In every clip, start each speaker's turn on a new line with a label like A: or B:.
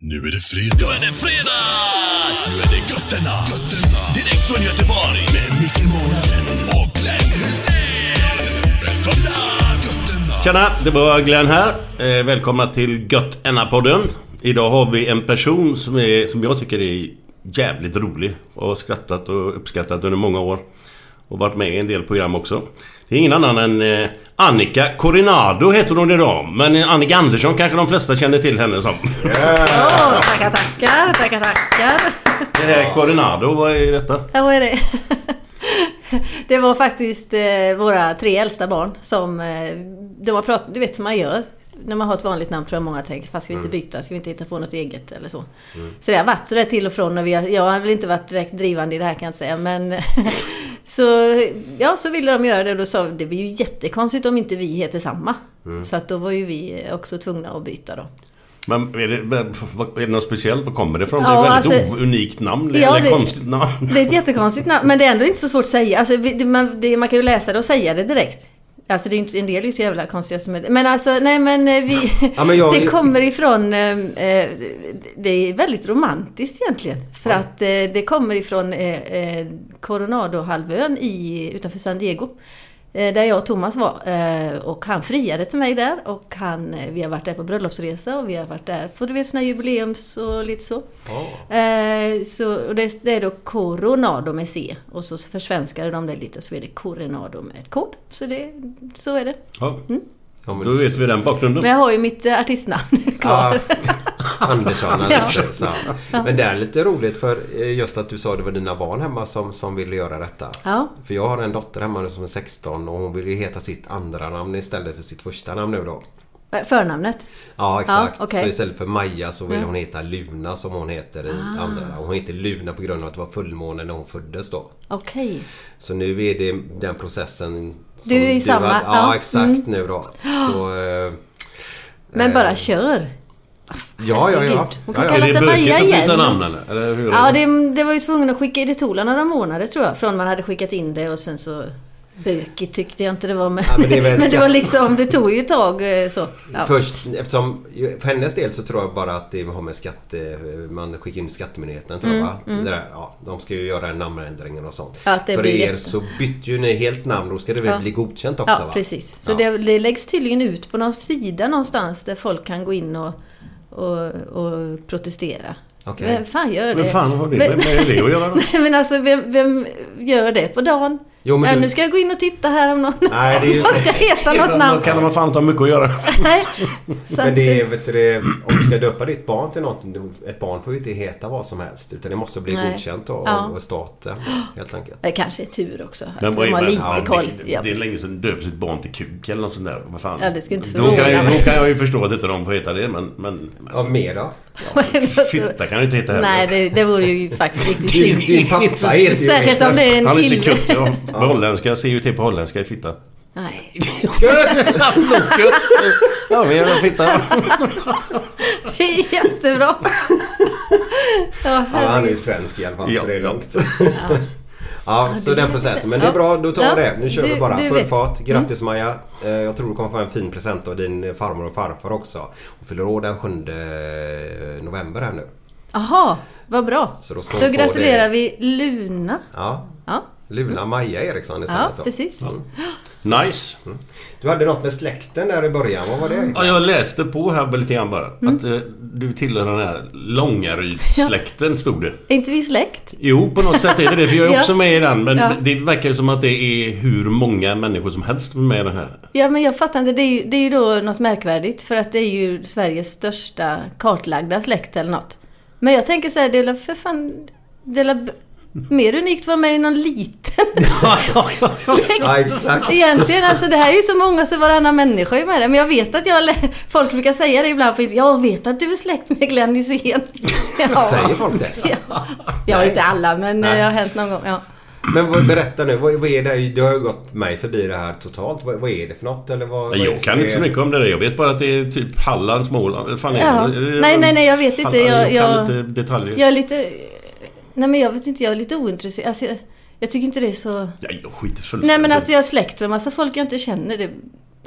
A: Nu är det fredag. Nu är det fredag! Nu är det götterna. götterna. Direkt från Göteborg. Med Micke Månaden och Glenn Hysén. Välkomna! Götterna.
B: Tjena, det var Glenn här. Eh, välkomna till Gött Enna-podden. Idag har vi en person som, är, som jag tycker är jävligt rolig. Och har skrattat och uppskattat under många år. Och varit med i en del program också. Det är ingen annan än eh, Annika Corinado heter hon idag. Men Annika Andersson kanske de flesta känner till henne som.
C: Åh, tackar, tackar, tackar, tackar.
B: Eh, Corinado, vad är detta?
C: Ja, vad är det? Det var faktiskt eh, våra tre äldsta barn som... Eh, de har pratat, du vet som man gör. När man har ett vanligt namn tror jag många tänker, fast ska vi inte byta? Ska vi inte hitta på något eget eller så? Så det har varit sådär till och från. Och vi har, jag har väl inte varit direkt drivande i det här kan jag inte säga, men... så, ja, så ville de göra det och då sa vi, det blir ju jättekonstigt om inte vi heter samma. Så att då var ju vi också tvungna att byta då.
B: Men är det, vad- är det något speciellt? Var kommer det ifrån? det
C: Ja,
B: är ett väldigt
C: alltså-
B: o- unikt namn.
C: Ja,
B: eller
C: det- Mm.
B: konstigt namn.
C: Det är ett jättekonstigt namn, men det är ändå inte så svårt att säga. Alltså, vi- det, man, det, man kan ju läsa det och säga det direkt. Alltså det är ju inte, en del är ju så jävla konstiga som är- Men alltså, nej men eh, vi...
D: Ja, men jag-
C: det kommer ifrån... eh, eh, Det är väldigt romantiskt egentligen. För att eh, det kommer ifrån eh, eh, Coronadohalvön i, utanför San Diego. eh, Där jag och Thomas var. Eh, Och han friade till mig där. Och han, eh, vi har varit där på bröllopsresa och vi har varit där på du vet, såna här jubileums och lite så. Eh, så, och det, det är då Coronado med C och så försvenskade de det lite och så blev det Coronado med ett K. Så, det, så är det.
B: Ja.
D: Ja, men
B: Då
D: det-
B: vet vi den bakgrunden.
C: Men jag har ju mitt eh, artistnamn
D: Ja,
C: kvar.
D: Andersson
C: Ja.
D: Andersson. så. Men det är lite roligt för eh, just att du sa det var dina barn hemma som, som ville göra detta.
C: Ja.
D: För jag har en dotter hemma nu som är 16 och hon vill ju heta sitt andra namn istället för sitt första namn nu då.
C: Eh, Förnamnet.
D: Ja exakt.
C: okej.
D: Så istället för Maja så vill hon heta Luna som hon heter i andra. Och hon heter Luna på grund av att det var fullmåne när hon föddes då.
C: Okej.
D: Så nu är det den processen som
C: Du är i samma,
D: hade- Ja,
C: ja. mm.
D: exakt nu då. Så... eh,
C: Men bara kör.
D: Ja, ja, ja.
C: Herregud. Hon
D: ja,
C: kan
D: ja.
B: Är
C: kalla
B: det
C: sig Maja
B: bökigt att byta
C: igen.
B: namn eller? eller hur?
C: Ja, det, det var ju tvungen att skicka... Det tog några månader tror jag från man hade skickat in det och sen så... Bökigt tyckte jag inte det var men...
D: Ja, men det är väl
C: det var
D: skatt-
C: liksom... Det tog ju ett tag eh, så. Ja.
D: Först eftersom, för hennes del så tror jag bara att det har med skatte... Man skickar in skattemyndigheten tror jag va? Det där, ja, de ska ju göra namnändringen och sånt.
C: Ja, att det
D: för
C: blir
D: er
C: jätte-
D: så bytte ju ni helt namn. Då ska det väl
C: Ja.
D: bli godkänt också
C: Ja,
D: va?
C: precis. Så
D: Ja.
C: Det, det läggs tydligen ut på någon sida någonstans där folk kan gå in och, och, och protestera.
D: Okej.
C: Vem fan gör det?
B: Men fan har det med, med det att göra då?
C: Nej, men alltså vem, vem gör det på dagen?
D: Jo, men
C: ja,
D: du-
C: Nu ska jag gå in och titta här om någon,
D: Nej, det är ju-
C: någon ska heta något
B: Då
C: namn.
B: kan man fan inte ha mycket att göra.
C: Nej. Så
D: Men
C: att,
D: det är, vet du, det, om du ska döpa ditt barn till något. Ett barn får ju inte heta vad som helst. Utan det måste bli
C: Nej.
D: godkänt då,
C: Ja.
D: av staten helt enkelt.
C: det kanske är tur också. Att
B: Men vad
C: de har
B: är
C: lite
B: ja,
C: koll.
B: Det,
C: Ja.
B: det är länge sedan döpt sitt barn till kuk eller något sånt där. Vad fan.
C: Ja, det ska inte
B: då, kan
C: förvåna
B: jag,
C: mig.
B: då kan jag ju förstå att inte de får heta det men... men alltså,
D: Ja, mer då?
B: fitta kan ju inte heta heller.
C: Nej, det, det vore ju faktiskt riktigt synd.
D: Din pappa heter ju...
C: Särskilt om det är
B: Han
C: en
B: är lite
C: kille.
B: kutt. Ja. På holländska, CUT på holländska är fitta.
C: Nej,
B: Gött! Gött! Ja, vi gör en fitta.
C: det är jättebra. ja,
D: Ja, han är ju
C: herregud.
D: svensk i alla fall,
B: Ja,
D: så det är
B: ja.
D: lugnt. Ja, så den presenten. Men det är
C: Ja.
D: bra, då tar
C: Ja.
D: vi det. Nu kör
C: Du-
D: vi bara.
C: du
D: Full
C: vet.
D: fart. Grattis Maja. Eh, Jag tror du kommer få en fin present av din farmor och farfar också. Hon fyller år den eh, 7 november här nu.
C: Jaha, vad bra.
D: Så då ska hon
C: Då
D: få
C: gratulerar
D: det.
C: vi Luna.
D: Ja.
C: Ja,
D: Luna Maja Eriksson
C: ja
D: istället då. Mm.
C: precis.
B: Nice.
D: Du hade något med släkten där i början. Vad var det?
B: Ja, jag läste på här lite grann bara.
C: Mm.
B: Att eh, du tillhör den här Långarydssläkten, stod det.
C: Är inte vi släkt?
B: Jo, på något sätt är det det. För jag är
C: Ja.
B: också med i den. Men
C: Ja.
B: det verkar ju som att det är hur många människor som helst med i den här.
C: Ja, men jag fattar inte. Det är, ju, det är ju då något märkvärdigt. För att det är ju Sveriges största kartlagda släkt eller något. Men jag tänker så här, det är väl för fan... Det är väl b- mer unikt att vara med i någon liten släkt.
D: Ja, exakt.
C: Egentligen, alltså det här är ju så många så varannan människa är med det. Men jag vet att jag... lä- Folk brukar säga det ibland. För jag vet att du är släkt med Glenn Hysén.
D: Säger folk det?
C: Ja, ja inte alla, men eh, det har hänt någon gång. Ja.
D: Men vad, berätta nu, vad, vad är det? Du har ju gått mig förbi det här totalt. Vad, vad är det för något? Eller vad, vad
B: Nej,
D: är
B: jag
D: det
B: kan
D: som
B: inte så
D: är-
B: mycket om det där. Jag vet bara att det är typ Halland, Småland. eller Fan
C: Ja.
B: är det?
C: Nej, nej, nej, jag vet inte.
B: Halland,
C: Jag-
B: kan
C: jag-
B: lite detaljer.
C: Jag är lite... Nej men jag vet inte, jag är lite ointresserad. Alltså, jag, jag tycker inte det är så...
B: Nej, jag skiter fullständigt
C: Nej men att jag är släkt med massa folk jag inte känner, det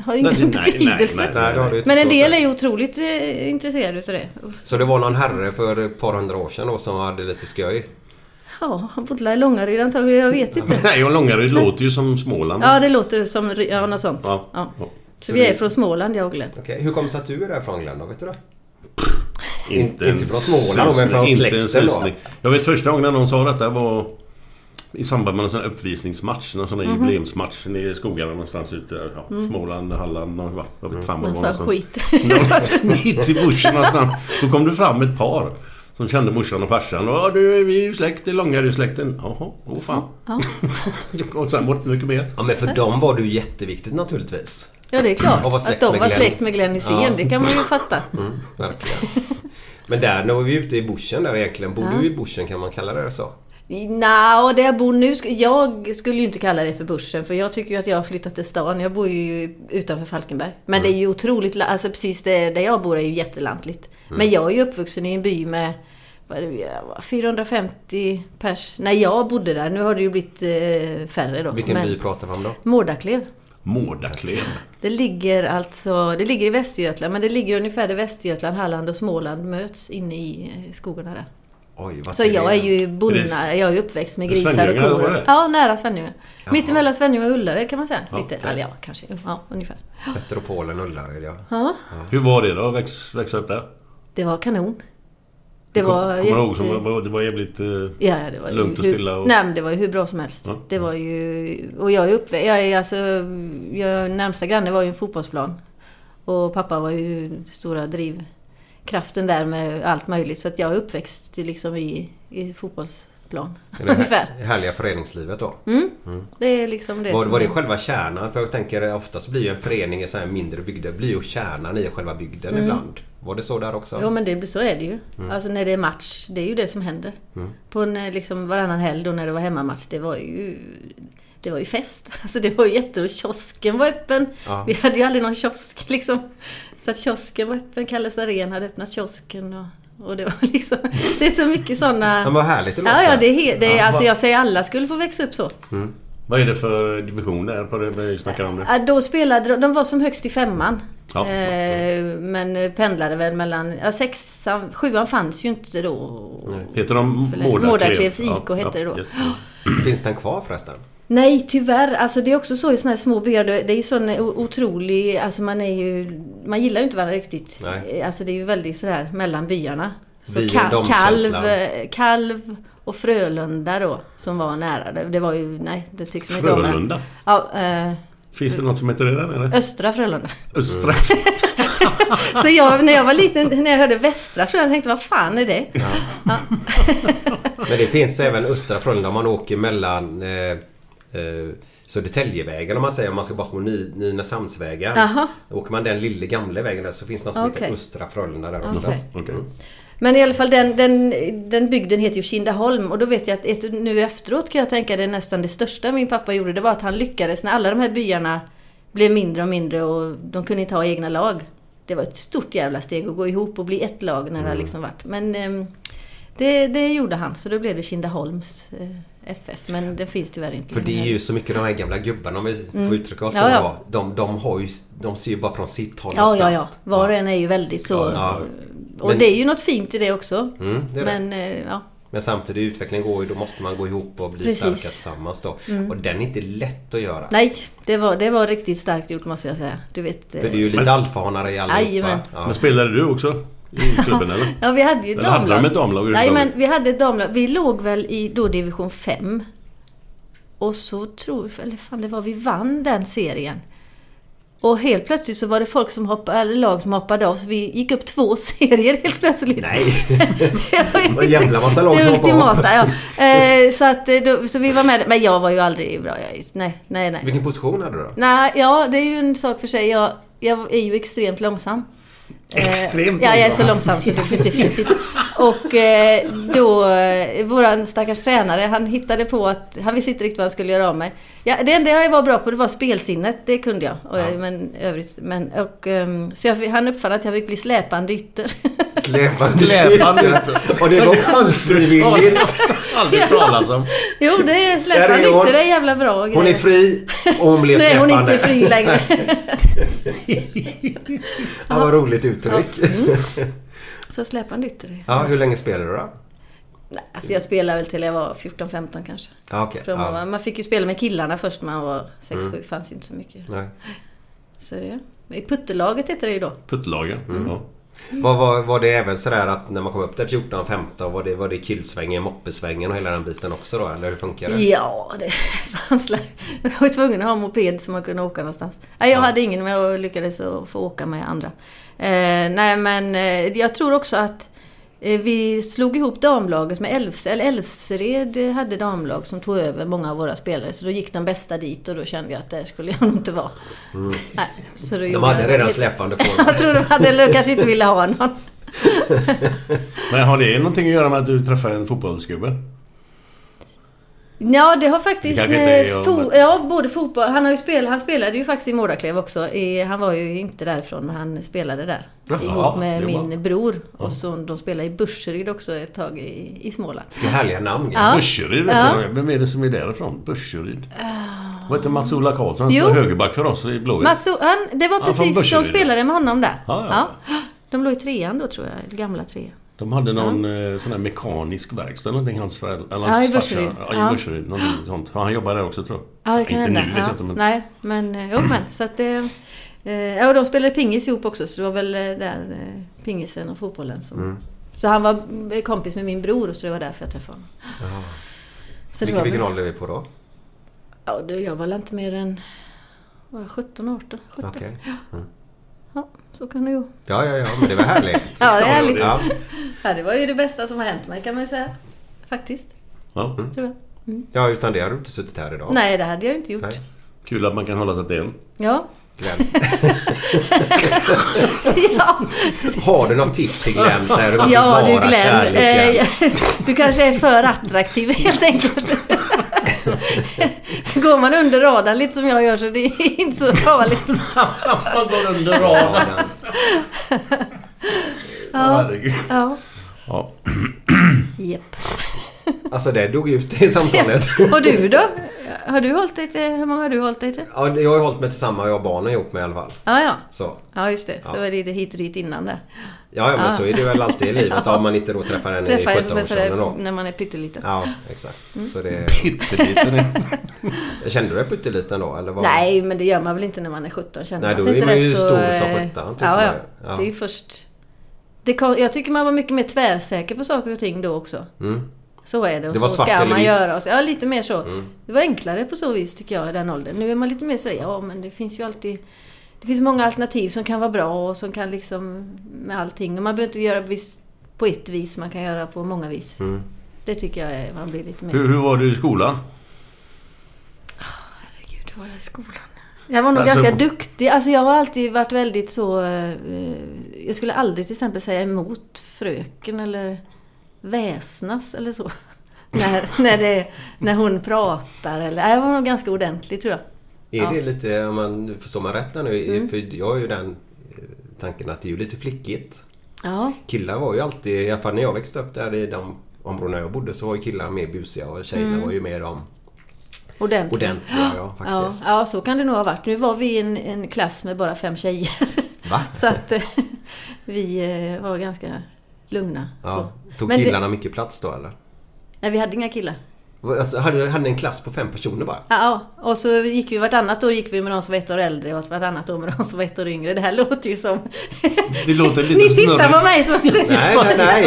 C: har ju ingen
B: Nej, nej, nej,
C: betydelse.
B: nej,
D: Nej, det har du inte
C: Men en
D: så
C: del
D: säkert.
C: är ju otroligt eh, intresserade utav det.
D: Så det var någon herre för ett par hundra år sean då som hade lite skoj?
C: Ja, han bodde i Långaryd antagligen, jag vet inte.
B: Nej, och Långaryd låter ju som Småland.
C: Ja, det låter som ry- ja, något sånt.
B: Ja.
C: Ja.
B: Ja.
C: Så vi är från Småland, jag och Glenn.
D: Okej, hur kom det sig att du är därifrån Glenn då? Vet du det?
B: Inte,
D: inte
B: en
D: från Småland, men från
B: susning. Inte en
D: släkten då.
B: susning. Jag vet första gången när någon sa detta var i samband med en sån här uppvisningsmatch, någon sån
C: Mhm.
B: här jubileumsmatch nere i skogarna någonstans ute där. Ja, Småland, Halland, någon, va? jag vet fan var det
C: Han
B: var
C: sa
B: någonstans.
C: Mm. skit.
B: Ja, Mitt i bushen någonstans. Då kom det fram ett par som kände morsan och farsan. Ja, du, vi är ju släkt, Långaryd-släkten. Jaha, åh fan. och sen var det inte mycket mer.
D: Ja men för dem var du jätteviktigt naturligtvis.
C: Ja, det är klart.
D: Och var
C: Att
D: släkt
C: de
D: med
C: var
D: Glenn.
C: släkt med Glenn Hysén,
D: Ja.
C: det kan man ju fatta.
D: Verkligen. Men där, när vi är ute i bushen där egentligen. Bor du i bushen kan man kalla det så?
C: Nja, och där jag bor nu... sk- Jag skulle ju inte kalla det för börsen, för jag tycker ju att jag har flyttat till stan. Jag bor ju utanför Falkenberg. Men
D: Mm.
C: det är ju otroligt... la- Alltså precis det, där jag bor är ju jättelantligt.
D: Mm.
C: Men jag är ju uppvuxen i en by med vad är det, vi var, 450 pers. När jag bodde där. Nu har det ju blivit eh, färre då.
D: Vilken
C: men,
D: by pratar vi om då?
C: Mårdaklev.
B: Mårdaklev.
C: Det ligger alltså... Det ligger i Västergötland, men det ligger ungefär där Västergötland, Halland och Småland möts inne i eh, skogarna där.
D: Oj, vad
C: Så
D: är det?
C: jag är ju
B: Är det
C: bonna,
B: s-
C: jag är ju uppväxt med
B: är det
C: grisar och
B: Svenljunga, eller vad är
C: kor.
B: det?
C: Ja, nära Svenljunga. Mittemellan Svenljunga och Ullared kan man säga.
B: Ja,
C: Lite,
B: ja.
C: eller ja, kanske. Ja, ungefär.
D: Metropolen Ullared ja.
B: Hur var det då att växa, växa upp där?
C: Det var kanon. Det var
B: Kommer du ihåg? Som, var- det var jävligt... eh,
C: Ja, ja, det var ju
B: Lugnt och
C: hur,
B: stilla och-
C: Nej, men det var ju hur bra som helst.
B: Ja.
C: Det var ju... Och jag är uppväxt... Jag är alltså... Jag, närmsta granne var ju en fotbollsplan. Och pappa var ju stora drivkraften där med allt möjligt. Så att jag är uppväxt liksom i, i fotbollsplan.
D: Det här-
C: Ungefär.
D: härliga föreningslivet då.
C: Det är liksom det
D: Var,
C: som
D: var det
C: är-
D: själva kärnan? För jag tänker oftast blir ju en förening i så här mindre bygder blir ju kärnan i själva bygden
C: Mm.
D: ibland. Var det så där också?
C: Ja men det, så är det ju.
D: Mm.
C: Alltså när det är match, det är ju det som händer. På en, eh, liksom, varannan helg då när det var hemmamatch, det var ju... Det var ju fest. Alltså det var ju jätteroligt. Kiosken var öppen.
D: Ja.
C: Vi hade ju aldrig någon kiosk liksom. Så att kiosken var öppen. Kalles Arena hade öppnat kiosken och, och det var liksom... Det är så mycket sådana...
D: Men vad härligt det
C: Ja, ja,
D: låter.
C: det är, he- det är,
D: Ja,
C: alltså
D: vad-
C: jag säger alla skulle få växa upp så.
B: Vad är det för division där på det vi snackar om nu?
C: Ja, då spelade de, de var som högst i femman.
B: Ja.
C: Eh, men pendlade väl mellan, ja sexan, sjuan fanns ju inte då.
B: Heter de
C: Förlåt.
B: Mårdarklev?
C: Mårdarklevs IK
B: Ja,
C: hette det då.
B: just
D: Finns den kvar förresten?
C: Nej tyvärr, alltså det är också så i såna här små byar, det det är ju sån o- otrolig, alltså man är ju, man gillar ju inte varandra riktigt.
D: Nej.
C: Eh, Alltså det är ju väldigt sådär mellan byarna. Så
D: Vi och
C: ka-
D: dem-känslan.
C: kalv, eh, kalv och Frölunda då, som var nära. Det, det var ju, nej det tyckte man inte om.
B: Frölunda?
C: Ja, eh,
B: Finns det något som heter det där eller?
C: Östra Frölunda.
B: Östra?
D: Mm.
C: Så jag, när jag var liten, när jag hörde Västra Frölunda, tänkte jag, vad fan är det?
D: Men det finns även Östra Frölunda om man åker mellan eh, eh, Södertäljevägen om man säger om man ska bort mot Ny, Nynäshamnsvägen.
C: Jaha.
D: Åker man den lilla gamla vägen där så finns det något som
C: Okej.
D: heter Östra Frölunda där också.
C: Okej.
B: Okej.
D: Mm.
C: Men i alla fall den, den, den bygden heter ju Kindaholm och då vet jag att ett, nu efteråt kan jag tänka det är nästan det största min pappa gjorde. Det var att han lyckades när alla de här byarna blev mindre och mindre och de kunde inte ha egna lag. Det var ett stort jävla steg att gå ihop och bli ett lag när det
D: Mm.
C: hade liksom varit. Men ehm, det, det gjorde han, så då blev det Kindaholms eh, FF. Men det finns tyvärr inte
D: För det är
C: längre.
D: ju så mycket de här gamla gubbarna om vi får uttrycka oss
C: Ja,
D: så
C: ja.
D: bra. De, de, har ju, de ser ju bara från sitt håll
C: Ja, ja, ja.
D: oftast.
C: Var och en är ju väldigt så...
D: ja.
C: Och
D: Men-
C: det är ju något fint i det också.
D: Mm, det är det.
C: Men eh, ja.
D: Men samtidigt utvecklingen går ju, då måste man gå ihop och bli
C: Precis. Mm.
D: starka tillsammans då. Och den är inte lätt att göra.
C: Nej, det var, det var riktigt starkt gjort måste jag säga. Du vet... eh,
D: För det är ju lite alfahanar i allihopa.
C: Jajamän.
D: Ja.
B: Men spelade du också? I klubben eller?
C: Ja, vi hade ju
B: Eller hade de ett damlag
C: Nej, men
B: överhuvudtaget?
C: vi hade ett damlag. Vi låg väl i då division 5. Och så tror eller fan det var vi vann den serien. Och helt plötsligt så var det folk som hoppade, eller lag som hoppade av så vi gick upp två serier helt plötsligt.
D: Nej.
C: Det var ju
D: Vad jävla massa lag
C: det
D: som hoppade av.
C: ultimata, ja. Eh, så, att, eh, då, så vi var med Men jag var ju aldrig bra. Jag, nej, nej, nej.
D: Vilken position hade du då?
C: Nej, ja det är ju en sak för sig. Jag, jag är ju extremt långsam.
E: Extremt
C: Eh, Ja, jag är
E: långsam.
C: så långsam så det, det finns inte. Och eh, då, eh, våran stackars tränare, han hittade på att, han visste inte riktigt vad han skulle göra av mig. Ja, det enda jag var bra på det var spelsinnet, det kunde jag. Och, jag- Men övrigt, men, och, ehm, så jag, fick- han uppfann att jag fick bli släpande ytter.
D: Släpande
E: Släpande
D: ytor. Och det var ofrivilligt.
B: Aldrig talas om.
C: jo, det är släpande
D: Där är hon.
C: ytter, det är jävla bra
D: Hon är
C: grejer.
D: fri och hon blev
C: Nej,
D: släpande.
C: hon är inte fri längre.
D: Ja, vad roligt uttryck.
C: Mm. så släpande ytter. är-
D: Ja, hur länge spelade du då?
C: Nej, Alltså jag spelade väl till jag var 14-15 kanske.
D: Ja, okej.
C: Från man
D: Ja. Mm.
C: var- Man fick ju spela med killarna först när man var 6-7. fanns ju inte så mycket.
D: Nej.
C: Så det. I puttelaget heter det ju då.
B: Puttlagen.
D: Mm.
B: Ja.
D: Var, var, var det även sådär att när man kom upp till 14-15 var det, var det killsvängen, moppesvängen och hela den biten också då? Eller hur funkar det?
C: Ja, det fanns la- Jag var ju tvungen att ha en moped så man kunde åka någonstans. Nej, jag hade ingen men jag lyckades att få åka med andra. Eh, nej, men eh, jag tror också att eh, vi slog ihop damlaget med Älvs, eller Älvsred eh, hade damlag som tog över många av våra spelare. Så då gick den bästa dit och då kände jag att där skulle jag nog inte vara. Nej, så då
D: Mm. De
C: gjorde
D: hade
C: jag-
D: redan släpande form.
C: Jag tror de hade, eller de kanske inte ville ha någon.
B: Men har det någonting att göra med att du träffade en fotbollsgubbe?
C: Ja, det har
B: Det
C: faktiskt
B: kanske inte
C: med
B: är jag,
C: fo-
B: men-
C: ja, både fotboll... Han, har ju spel- han spelade ju faktiskt i Mårdaklev också. I, han var ju inte därifrån, men han spelade där.
B: Jaha,
C: ihop med
B: det var-
C: min bror. Och så, de spelade i Burseryd också ett tag i, i Småland.
D: Vilka härliga namn.
C: Ja.
B: Burseryd vet
C: Ja. Ah.
B: jag. Vem är det som är därifrån? Burseryd? Vad heter Mats-Ola Karlsson?
C: Jo.
B: Han var högerback för oss i Blåvitt.
C: Mats, O- han, det var
B: Ja, från
C: precis... de
B: Burseryd.
C: spelade med honom där.
B: Ja, ja,
C: De låg i trean då, tror jag. Gamla trean.
B: De hade någon eh, sån här mekanisk verkstad någonting. Hans föräldrar. Eller
C: Ja,
B: hans
C: i
B: farsa.
C: Burseryd.
B: Ja,
C: Ja.
B: i Burseryd. Någonting sånt. Ja, han jobbar där också tror jag.
C: Ja, det kan hända.
B: Inte nu vet
C: ja.
B: jag
D: liksom,
B: inte men...
C: Nej, men eh, jo men så att det... eh, Ja, och de spelade pingis ihop också så det var väl eh, där eh, pingisen och fotbollen som...
D: Mm.
C: Så han var eh, kompis med min bror så det var därför jag träffade honom. Så det
D: Vilken,
C: var
D: vilken
C: väl,
D: ålder är vi på då?
C: ja, du, jag var väl inte mer än... Var jag 17, 18? 17.
D: Okej.
C: Ja, så kan det ju.
D: Ja, ja, ja, men det var härligt.
C: Ja, det är härligt.
D: Ja.
C: Ja, det var ju det bästa som har hänt mig kan man ju säga. Faktiskt,
B: Ja.
C: tror jag.
D: ja, utan det hade du inte suttit här idag.
C: Nej, det hade jag ju inte gjort.
D: Nej.
B: Kul att man kan hålla sig till en.
C: Ja.
D: Glenn.
C: ja.
D: Har du något tips till Glenn? Så här, hur man
C: Ja
D: bevarar
C: du Glenn,
D: kärleken?
C: eh, du kanske är för attraktiv helt enkelt. Går man under radarn lite som jag gör så det är inte så farligt.
B: Man går under radarn.
D: Ja, men-
B: Herregud.
C: Ja.
B: Ja.
C: Japp.
D: Alltså det dog ut i samtalet.
C: Och du då? Har du hållit dig till, hur många har du hållit dig till?
D: Ja, jag har ju hållit mig till samma, jag har barnen ihop med i alla fall.
C: Ja, ja.
D: Så.
C: Ja, just det. Så var det lite hit och dit innan det.
D: Ja, ja men så är det väl alltid i livet. Om man inte då träffar en i
C: Ah. Träffar jag som
D: 17-årsåldern
C: sådär,
D: då.
C: när man är pytteliten.
D: Ja, exakt. Så det...
B: Pytteliten.
D: Kände du dig pytteliten då? Eller vad?
C: Nej, men det gör man väl inte när man är 17? Känner
D: Nej, då
C: sig
D: är
C: inte
D: man ju
C: rätt
D: stor
C: eh,
D: som sjutton, tycker
C: Ja, ja.
D: man ju. Ja.
C: Det är ju först... Det kom, jag tycker man var mycket mer tvärsäker på saker och ting då också. Så är det. Och
D: Mm. Det var
C: så
D: svart
C: ska
D: eller
C: man
D: vitt. Mm.
C: göra. Och så, ja, lite mer så. Det var enklare på så vis tycker jag i den åldern. Nu är man lite mer sådär, ja men det finns ju alltid... Det finns många alternativ som kan vara bra och som kan liksom... Med allting. Och man behöver inte göra vis, på ett vis, man kan göra på många vis.
D: Mm.
C: Det tycker jag är, man blir lite mer...
B: Hur, hur var du i skolan?
C: Herregud, hur var jag i skolan? Jag var nog
B: Alltså-
C: ganska duktig. Alltså jag har alltid varit väldigt så... eh, eh, Jag skulle aldrig till exempel säga emot fröken eller väsnas eller så. när, när, det, när hon pratar eller... Nej, Jag var nog ganska ordentlig tror jag.
D: Är
C: Ja. Mm.
D: det lite, om man förstår man rätt där nu? För jag har ju den eh, tanken att det är ju lite flickigt.
C: Ja,
D: Killar var ju alltid, i alla fall när jag växte upp där i de områdena jag bodde så var ju killar mer busiga och tjejerna
C: Mm.
D: var ju mer de
C: ordentligt.
D: ordentliga ja,
C: Ja,
D: faktiskt.
C: ja, så kan det nog ha varit. Nu var vi i en, en klass med bara fem tjejer.
D: Va?
C: Så att eh, vi eh, var ganska lugna.
D: Ja.
C: Så.
D: Tog
C: Men det-
D: killarna mycket plats då eller?
C: Nej, vi hade inga killar.
D: Vad- Alltså, hade, hade ni en klass på fem personer bara?
C: Ja, ja. och så gick vi vartannat år gick vi med någon som var ett år äldre och vartannat år med någon som var ett år yngre. Det här låter ju som...
B: Det låter lite
C: Ni tittar på
B: snurrigt.
C: mig som...
D: Nej, nej, nej.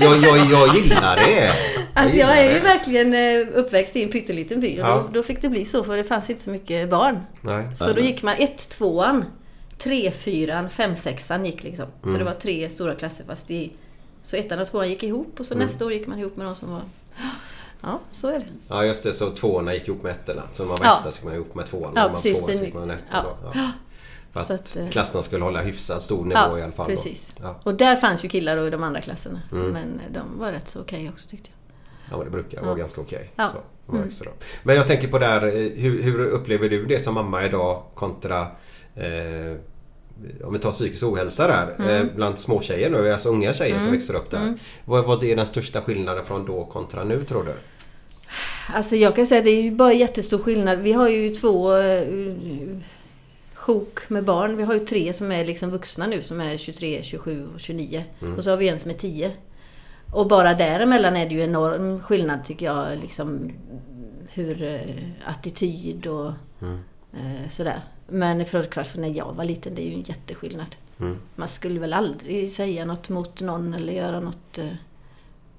D: Jag, jag, jag gillar det.
C: Alltså
D: gillar
C: jag är ju
D: det.
C: verkligen eh, uppväxt i en pytteliten by och
D: Ja.
C: då, då fick det bli så för det fanns inte så mycket barn.
D: Nej.
C: Så då gick man ett, tvåan, tre, fyran, fem, sexan gick liksom.
D: Mm.
C: Så det var tre stora klasser fast det... Så ettan och tvåan gick ihop och så
D: Mm.
C: nästa år gick man ihop med de som var... Ja, så är det.
D: Ja just det, så tvåorna gick ihop med ettorna. Så när man var
C: Ja.
D: etta så gick man ihop med tvåan.
C: Ja,
D: när man var
C: precis.
D: tvåa så gick man med ettan.
C: Ja.
D: då. Ja. För att,
C: Så att, eh,
D: klasserna skulle hålla hyfsat stor nivå i alla fall. då.
C: precis.
D: Ja. Mm.
C: Och där fanns ju killar då i de andra klasserna. Men eh, de var rätt så okej också tyckte jag.
D: ja, men det brukar vara ganska okej.
C: Ja. Mm.
D: så, om man växer upp. Men jag tänker på det här, eh, hur, hur upplever du det som mamma idag kontra eh, om vi tar psykisk ohälsa där
C: Mm.
D: eh, bland småtjejer nu, alltså unga tjejer som växer upp där. Vad, vad är den största skillnaden från då kontra nu tror du?
C: Alltså jag kan säga att det är ju bara jättestor skillnad. Vi har ju två eh, sjok med barn. Vi har ju tre som är liksom vuxna nu som är 23, 27 och 29. Och så har vi en som är 10. Och bara däremellan är det ju enorm skillnad tycker jag. Liksom hur eh, attityd och eh, sådär. Men förklart för när jag var liten, det är ju en jätteskillnad. Man skulle väl aldrig säga något mot någon eller göra något eh,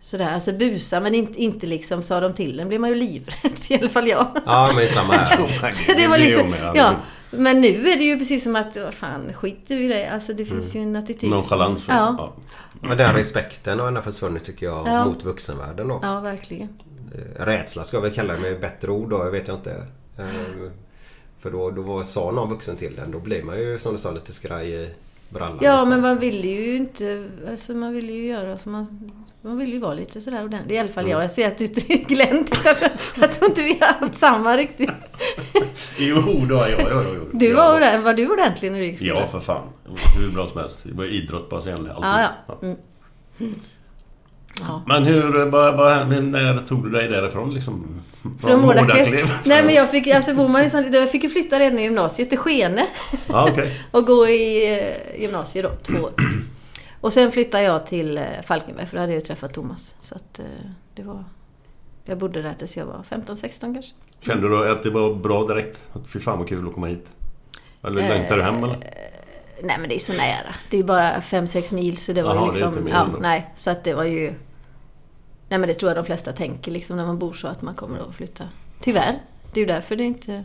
C: sådär. Alltså busa men inte, inte liksom sa de till en blir man ju livrädd. I alla fall jag.
D: Ja men samma här.
C: Så det var
B: blir
C: liksom,
B: jag med,
C: ja.
B: aldrig.
C: Men nu är det ju precis som att, vad fan skit du i det. Alltså det finns ju en attityd.
B: Nonchalans.
C: Ja.
B: Ja.
D: Men den respekten har ändå försvunnit tycker jag
C: Ja.
D: mot vuxenvärlden då.
C: Ja, verkligen.
D: Eh, rädsla ska jag väl kalla det med bättre ord då, jag vet jag inte. Ehm, För då, då var, sa någon vuxen till den, då blir man ju som du sa lite skraj i brallan.
C: Ja,
D: nästan.
C: men man ville ju inte... Alltså man ville ju göra som man... Man ville ju vara lite sådär ordentlig. I alla fall jag. Jag ser att du Glenn tittar så... Jag tror inte vi har haft samma riktigt.
B: Jo, då, ja, ja, ja, ja.
C: Du
B: ja.
C: var, ordentlig, var du ordentlig när du gick i skolan?
B: Ja, för fan. Hur bra som helst. Det var idrott bara så jävla alltid.
C: Ja, ja. Mm.
B: Men hur... eh, Vad, vad, men när tog du dig därifrån liksom?
C: Från Mårdaklev.
B: Mårdaklev?
C: Nej men jag fick, alltså bor man i Sandviken, jag fick ju flytta redan i gymnasiet till Skene.
B: Ja, okej.
C: Och gå i eh, gymnasiet då, två år. Och sen flyttade jag till eh, Falkenberg för då hade jag ju träffat Thomas. Så att eh, det var... Jag bodde där tills jag var 15-16 kanske.
B: Kände du att det var bra direkt? Att fy fan vad kul att komma hit? Eller
C: Eh,
B: längtar du hem eller?
C: Nej men det är så nära. Det är bara 5-6 mil så det var
B: Jaha,
C: ju
B: det är
C: liksom...
B: inte mer
C: ja,
B: än då.
C: nej, så att det var ju... Nej men det tror jag de flesta tänker liksom när man bor så att man kommer att flytta. Tyvärr. Det är ju därför det inte...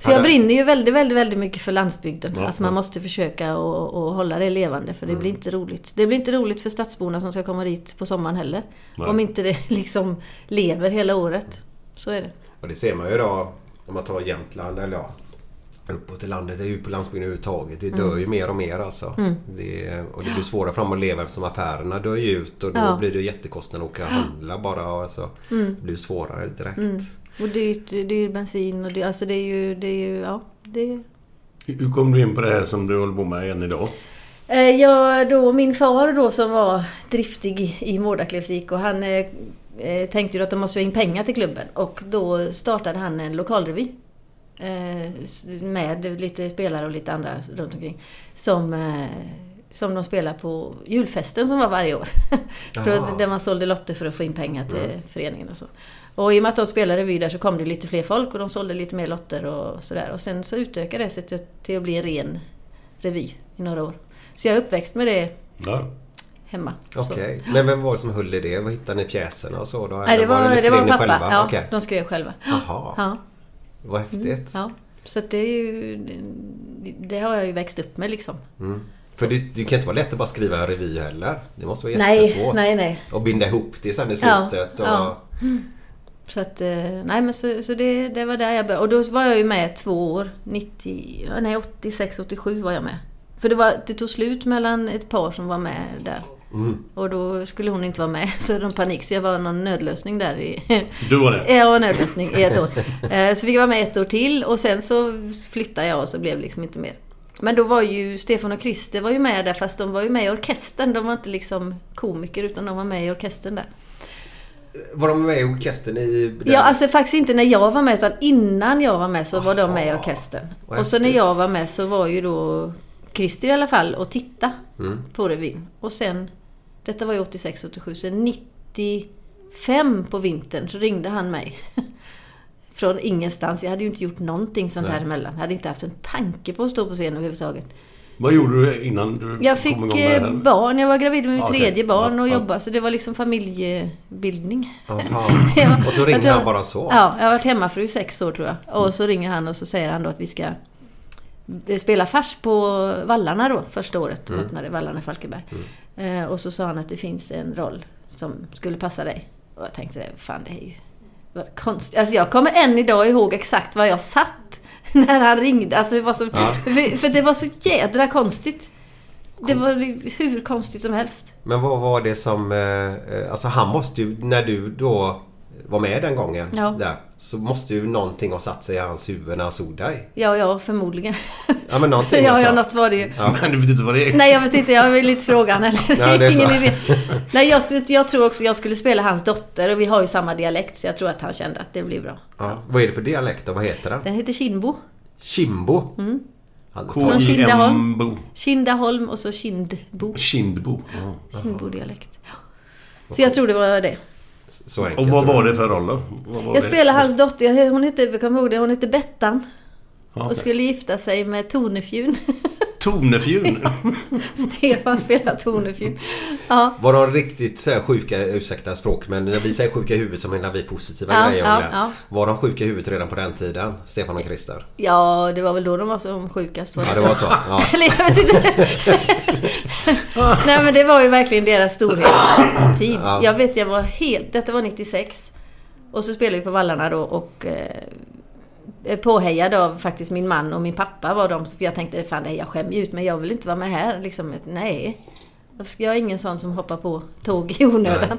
C: Så
D: Ja,
C: jag
D: det-
C: brinner ju väldigt, väldigt, väldigt mycket för landsbygden.
B: Ja,
C: alltså man
B: ja. Mm.
C: måste försöka och, och hålla det levande för det blir inte roligt. Det blir inte roligt för stadsborna som ska komma dit på sommaren heller.
B: Nej.
C: Om inte det liksom lever hela året. Så är det.
D: Och det ser man ju då om man tar Jämtland eller ja uppåt i landet, eller ut på landsbygden överhuvudtaget. Det dör ju
C: Mm.
D: mer och mer alltså. Det, och det blir svårare för dem att leva eftersom affärerna dör ju ut och då
C: Ja. Mm.
D: blir det jättekostnader att åka och handla bara. och Alltså, Det blir svårare direkt.
C: Och dyrt, dyr bensin och det, alltså det är ju... Det är ju ja, det
B: Hur kom du in på det här som du håller på med än idag?
C: Eh, Ja, då min far då som var driftig i- i Mårdaklevs IK, han eh, eh, tänkte ju att de måste ha in pengar till klubben och då startade han en lokalrevy. eh, s- Med lite spelare och lite andra runt omkring. Som, eh, som de spelar på julfesten som var varje år. för
D: Jaha.
C: att, där man sålde lotter för att få in pengar till föreningen och så. Och i och med att de spelade revy där så kom det lite fler folk och de sålde lite mer lotter och sådär. Och sen så utökade det sig till, till att bli en ren revy i några år. Så jag är uppväxt med det
B: Ja.
C: hemma. Så.
D: Okej, men vem var det som höll i det? Vad hittade ni pjäserna och så? Då?
C: Nej, det
D: Eller
C: var,
D: ni
C: det var
D: skrev ni
C: pappa.
D: själva?
C: Ja,
D: Okej.
C: De skrev själva.
D: Jaha,
C: Ja, Mm,
D: vad häftigt.
C: ja. Så att det är ju... Det har jag ju växt upp med liksom.
D: Mm, För det, det kan inte vara lätt att bara skriva en revy heller. Det måste vara
C: Nej,
D: jättesvårt.
C: nej, nej.
D: Och binda ihop det sen i
C: Ja,
D: slutet.
C: ja.
D: och,
C: Så att, eh, nej men så, så det, det var där jag började. Och då var jag ju med två år. 90, ja, nej 86, 87 var jag med. För det, var, det tog slut mellan ett par som var med där.
D: Mm.
C: Och då skulle hon inte vara med, så de panik. Så jag var någon nödlösning där i,
B: Du var det?
C: Ja, en överraskning i ett år. Eh, Så fick jag vara med ett år till och sen så flyttade jag och så blev det liksom inte mer. Men då var ju Stefan och Christer var ju med där fast de var ju med i orkestern. De var inte liksom komiker utan de var med i orkestern där.
D: Var de med i orkestern i... den-
C: Ja, alltså faktiskt inte när jag var med utan innan jag var med så var de med i orkestern.
D: vad
C: Och så när
D: häftigt.
C: jag var med så var ju då Christer i alla fall och titta
B: Mm.
C: på revyn. Och sen, detta var ju 86, 87, sen 95 på vintern så ringde han mig. Från ingenstans. Jag hade ju inte gjort någonting sånt här emellan. Jag hade inte haft en tanke på att stå på scen överhuvudtaget.
B: Vad gjorde du innan du
C: Eh, Jag
B: kom
C: fick
B: igång med det
C: eh,
B: här?
C: barn. Jag var gravid med mitt
B: Ja, okej.
C: tredje barn
B: Ja,
C: och
B: ja.
C: jobbade. Så det var liksom familjebildning.
D: Jaha.
C: Ja.
D: Och så
C: Jag
D: ringde
C: tror-
D: han bara så.
C: Ja, jag har varit hemmafru i sex år tror jag. Och så ringer han och så säger han då att vi ska eh, spela fars på Vallarna då, första året.
D: Mm.
C: De öppnade Vallarna i Falkenberg. Eh, och så sa han att det finns en roll som skulle passa dig. Och jag tänkte, fan det är ju vad konstigt. Alltså jag kommer än idag ihåg exakt var jag satt när han ringde. Alltså det var så, för, för det var så jädra konstigt. Det var hur konstigt som helst.
D: Men vad var det som... eh, eh, Alltså han måste ju... När du då var med den gången
C: Ja.
D: där, så måste ju någonting ha satt sig i hans huvud när han såg dig.
C: Ja, ja, förmodligen.
D: Ja men någonting
C: ja,
D: alltså.
C: ja, något var det ju.
B: Men du vet inte vad det är?
C: Nej jag vet inte, jag vill inte fråga han heller.
D: Nej, det är
C: Ingen
D: så.
C: idé. Nej, jag, jag tror också jag skulle spela hans dotter och vi har ju samma dialekt så jag tror att han kände att det blir bra.
D: Ja. Vad är det för dialekt då? Vad heter den?
C: Den heter Kindbo.
D: Kimbo? Mm.
C: Från Kindaholm.
B: KIMBO.
C: Kindaholm och så Kindbo.
B: Kindbo. Ja.
C: Kindbo-dialekt. Ja. Så jag tror det var det.
D: Så enkelt.
B: Och vad var det för roll då? Vad var
C: Jag
B: det?
C: spelade hans dotter, jag- hon hette, jag kommer ihåg det, hon hette Bettan.
B: Ja,
C: Och
B: okej.
C: skulle gifta sig med Tornefjun.
B: Tonefjun.
C: Stefan spelar Tornefjun. Ja.
D: Var de riktigt så här sjuka, ursäkta språk, men när vi säger sjuka i huvudet så menar vi positiva
C: Ja,
D: grejer.
C: ja,
D: om det.
C: ja.
D: Var de sjuka i huvudet redan på den tiden? Stefan och Christer?
C: ja, det var väl då de var som sjukast. var
D: Ja det var så. Ja.
C: Eller jag vet inte. Nej men det var ju verkligen deras storhetstid. Jag vet jag var helt, detta var 96. Och så spelade vi på Vallarna då och eh, påhejad av faktiskt min man och min pappa var de. För jag tänkte fan det här, jag skämmer ju ut men jag vill inte vara med här. Liksom, nej. Varför ska Jag är ingen sån som hoppar på tåg i onödan.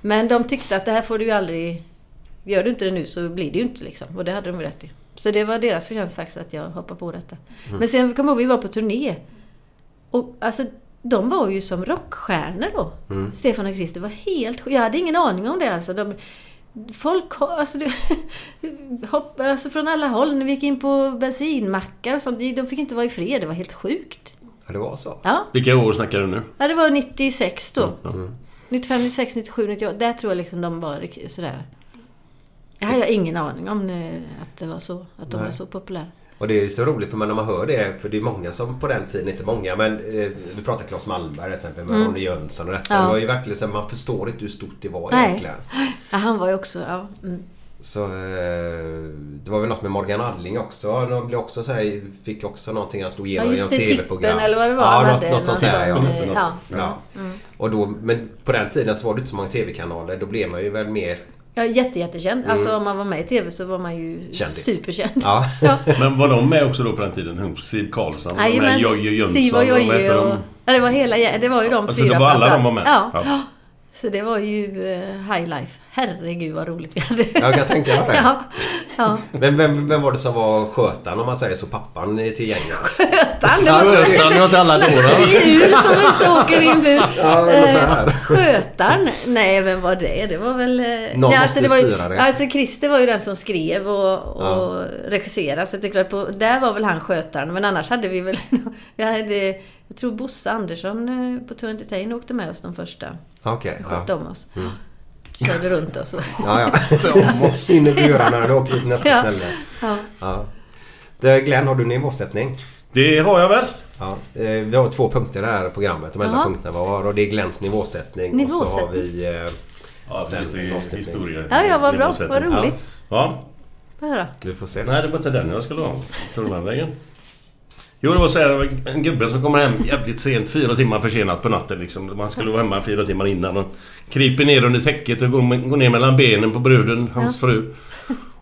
C: Men de tyckte att det här får du ju aldrig... Gör du inte det nu så blir det ju inte liksom. Och det hade de ju rätt i. Så det var deras förtjänst faktiskt att jag hoppade på detta. Men sen kom jag ihåg vi var på turné. Och alltså de var ju som rockstjärnor då. Stefan och Christer var helt... Jag hade ingen aning om det alltså. De, folk ho- alltså, du, hopp, alltså från alla håll. När vi gick in på bensinmackar och sånt. De fick inte vara i fred. Det var helt sjukt.
D: ja det var så.
C: Ja.
B: Vilka år snackar du nu?
C: Ja, det var 96 då. 95, 96, 97, 98. Där tror jag liksom de var rik- sådär. Jag hade ingen aning om eh, att det var så. Att de var så populära.
D: Och det är ju så roligt för man- när man hör det, för det är många som på den tiden, inte många men eh, vi pratar Claes Malmberg till exempel, med Ronny Jönsson och detta.
C: Mm. Ja.
D: Det var ju verkligen så här, man förstår inte hur stort det var
C: Nej.
D: egentligen.
C: Ja, han var ju också... Ja, mm.
D: Så eh, det var väl något med Morgan Alling också. De blev också så här, fick också någonting han slog igenom
C: Ja,
D: i
C: just
D: något
C: det,
D: tv-program.
C: Tippen eller vad det var han
D: Ja, något,
C: hade,
D: något sånt där. Ja.
C: någon sån, eh,
D: ja.
C: ja.
D: Och då, men på den tiden så var det inte så många tv-kanaler. Då blev man ju väl mer...
C: ja jätte, jättekänd. Alltså om man var med i TV så var man ju
D: Mm. Kändis.
C: superkänd.
D: Ja.
B: Men var de med också då på den tiden? Siv Karlsson, de här
C: Jajamän.
B: Jojje
C: Siv
B: Jönsson,
C: och
B: vad
C: Jojje
B: heter
C: och...
B: de?
C: Ja, det var hela gä- Det var ju de
B: Alltså,
C: fyra
B: det var alla
C: framförallt.
B: de var
C: Ja.
B: med? Ja.
C: Så det var ju eh, high life. Herregud vad roligt vi hade.
D: Ja, jag kan tänka mig det.
C: Ja. ja.
D: Men vem, vem var det som var skötaren om man säger så? Pappan till gänget?
C: Skötaren, det var
B: Utan åt alla dårar.
C: djur som inte åker i en bur.
D: ungefär.
C: Eh, Skötaren? Nej, vem var det? Det var väl... eh, nej,
D: måste
C: det var ju,
D: styra det.
C: Alltså Christer var ju den som skrev och, och regisserade. Så det är klart, på, där var väl han skötaren. Men annars hade vi väl... vi hade, jag tror Bosse Andersson eh, på Tour Entertain åkte med oss de första.
D: Okej.
C: Skötte
D: ja. Mm.
C: om oss. Körde runt oss.
D: Ja, ja. In i burarna och åker ut nästa
C: Ja.
D: ställe.
C: Ja.
D: Ja. Du, Glenn, har du en nivåsättning?
B: Det har jag väl.
D: Ja, eh, vi har två punkter i det här programmet. De enda
C: Jaha.
D: punkterna var och det är Glens nivåsättning, och så har
C: Nivåsättning.
D: vi... Eh,
B: Ja,
D: Sen
B: lite
D: avslutning.
B: historia.
C: Ja, ja, vad bra. Vad
B: Ja.
C: roligt.
B: Ja.
C: Får jag höra?
D: du får se.
B: Nej, det var inte den jag skulle ha. Tog den vägen? Jo, det var så här, det var en gubbe som kommer hem jävligt sent, fyra timmar försenat på natten liksom. Man skulle vara hemma fyra timmar innan och kryper ner under täcket och går, går ner mellan benen på bruden, hans fru.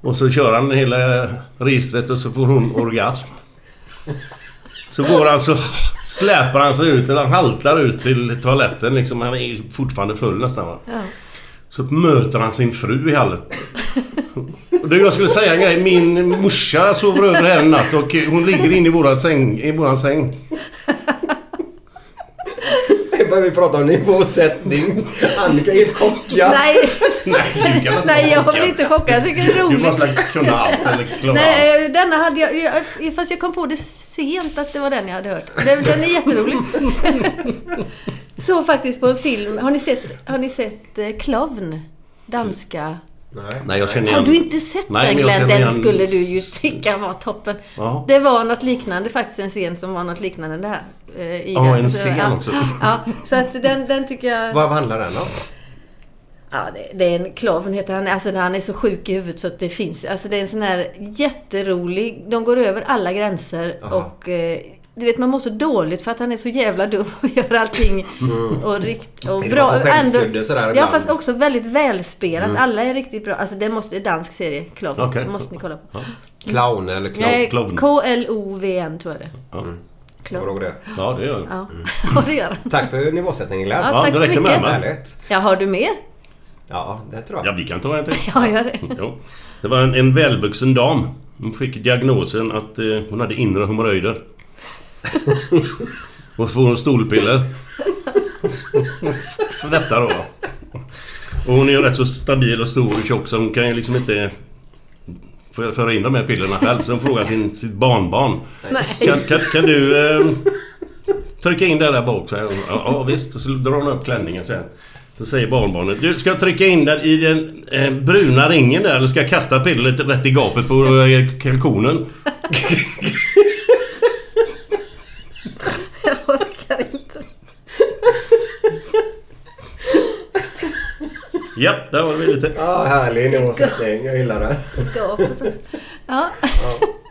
B: Och så kör han hela registret och så får hon orgasm. Så går han så släpar han sig ut, eller han haltar ut till toaletten liksom. Han är ju fortfarande full nästan va.
C: Ja.
B: Så möter han sin fru i hallen. Och det jag skulle säga en grej. Min morsa sover över här en natt och hon ligger inne i våran säng. I våran säng.
D: Det börjar vi prata om nivåsättning. Annika är helt chockad.
C: Nej,
B: Nej, du kan inte vara
C: nej jag
B: chockad.
C: blir inte chockad. Jag tycker det är
B: Du
C: roligt.
B: måste kunna allt eller klara allt.
C: Nej, eh, denna hade jag, jag... eh, Fast jag kom på det sent att det var den jag hade hört. Den, den är jätterolig. Såg faktiskt på en film. Har ni sett, har ni sett eh, Klovn? Danska.
D: Nej.
B: Nej, jag känner igen...
C: Har du inte sett
B: Nej,
C: den
B: men jag
C: Glenn?
B: känner
C: Den skulle
B: igen-
C: du ju tycka var toppen.
B: Ja.
C: Det var något liknande faktiskt, en scen som var något liknande det här. eh, i
B: Ja,
C: den.
B: en
C: Så,
B: scen
C: ja.
B: också.
C: Ja, så att den, den tycker jag...
D: Vad handlar den om?
C: Ja, det, det är en klovn heter han. Alltså han är så sjuk i huvudet så att det finns. Alltså det är en sån här jätterolig... De går över alla gränser
D: Aha.
C: och... Eh, du vet man mår så dåligt för att han är så jävla dum och gör allting och rikt och
D: Är det
C: bra.
D: bara på skämskudde sådär
C: ja
D: ibland?
C: fast också väldigt välspelat. Alla är riktigt bra. Alltså det måste, dansk serie, Klovn.
B: Okej.
C: Det måste ni kolla på.
D: Clown eller clown?
C: Nej,
B: Klovn.
C: K-L-O-V-N tror jag det är.
D: Kommer du ihåg det?
B: Ja, det gör jag.
C: Ja, ja det gör han.
D: Tack för nivåsättningen Glenn.
C: Ja,
B: Ja,
C: tack
B: det
C: så
B: räcker
C: mycket.
B: med mig.
D: Härligt.
C: Ja, har du mer?
D: Ja, det tror
B: Ja,
D: jag.
B: vi kan ta en till.
C: Ja, gör det.
B: Jo. Det var en, en välvuxen dam. Hon fick diagnosen att eh, hon hade inre hemorrojder. och så får hon stolpiller. För detta då. Och hon är ju rätt så stabil och stor och tjock så hon kan ju liksom inte för- föra in de här pillerna själv. Så hon frågar sin, sitt barnbarn. Kan, kan, kan du eh, trycka in det där bak? Så här. Ja, ja visst. Och Så drar hon upp klänningen så här. Så säger barnbarnet. Du, ska jag trycka in den i den eh, bruna ringen där eller ska jag kasta pillret rätt i gapet på eh, kalkonen?
C: Jag orkar inte.
B: Ja, där var det lite.
D: Ja, härlig nivåsättning. Jag gillar det.
C: Gapet också. Ja,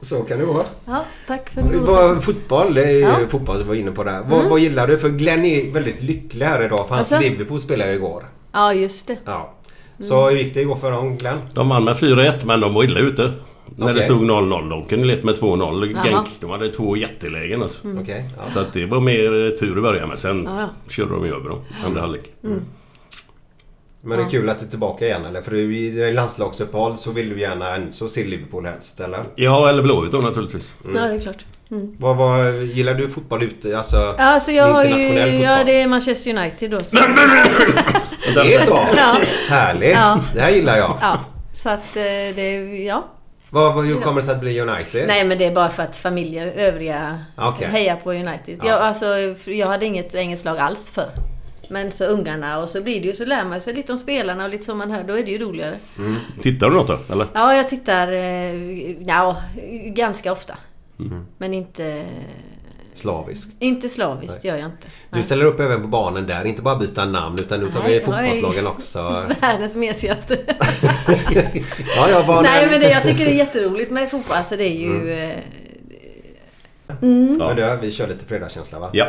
D: Så kan det vara.
C: ja, tack för
D: Det
C: det.
D: var fotboll, det är ju
C: Ja. Mm.
D: fotboll som vi var inne på där. Vad, vad gillar du? För Glenn är väldigt lycklig här idag för hans
C: Alltså? Mm.
D: Liverpool spelade ju igår.
C: Ja, just det.
D: Ja. Så hur gick det igår för dem Glenn?
B: De vann med 4-1 men de var illa ute. När det
D: Okej.
B: stod 0-0. De kunde leta med 2-0.
C: Jaha.
B: Genk. De hade två jättelägen alltså.
D: Mm. Okej. ja.
B: Så att det var mer eh, tur i början men sen
C: Ja, Mm.
B: körde de ju över dem. Andra halvlek.
D: Men det är kul att du är tillbaka igen eller? För du- i landslagsuppehåll så vill du gärna Enzo se Liverpool helst eller?
B: Ja, eller Blåvitt då naturligtvis.
D: mm.
C: Ja, det är klart.
D: Vad, vad, gillar du fotboll ute? Alltså,
C: Alltså jag har ju...
D: internationell fotboll?
C: Ja, det är Manchester United då. Så,
D: Det är så?
C: Ja.
D: Härligt!
C: Ja.
D: Det här gillar jag.
C: ja, så att eh, det... Ja.
D: Vad, vad, hur kommer det sig att bli United?
C: Nej, men det är bara för att familjen, övriga,
D: Okej.
C: hejar på United.
D: Ja.
C: Jag, alltså, jag hade inget engelskt lag alls för. Men så ungarna och så blir det ju, så lär man sig lite om spelarna och lite som man hör, då är det ju roligare.
B: Tittar du något då? Eller?
C: Ja, jag tittar, eh, ja, ganska ofta.
D: Mm.
C: Men inte,
D: Slaviskt.
C: inte slaviskt gör jag inte.
D: Du ställer upp även på barnen där, inte bara byta namn utan nu tar
C: Nej,
D: vi
C: oj.
D: fotbollslagen också.
C: Världens mesigaste.
D: Ja, ja, barnen.
C: Nej men det, jag tycker det är jätteroligt med fotboll. Alltså det är ju...
D: Mm.
C: eh,
D: Men du, vi kör lite fredagskänsla va?
B: Ja.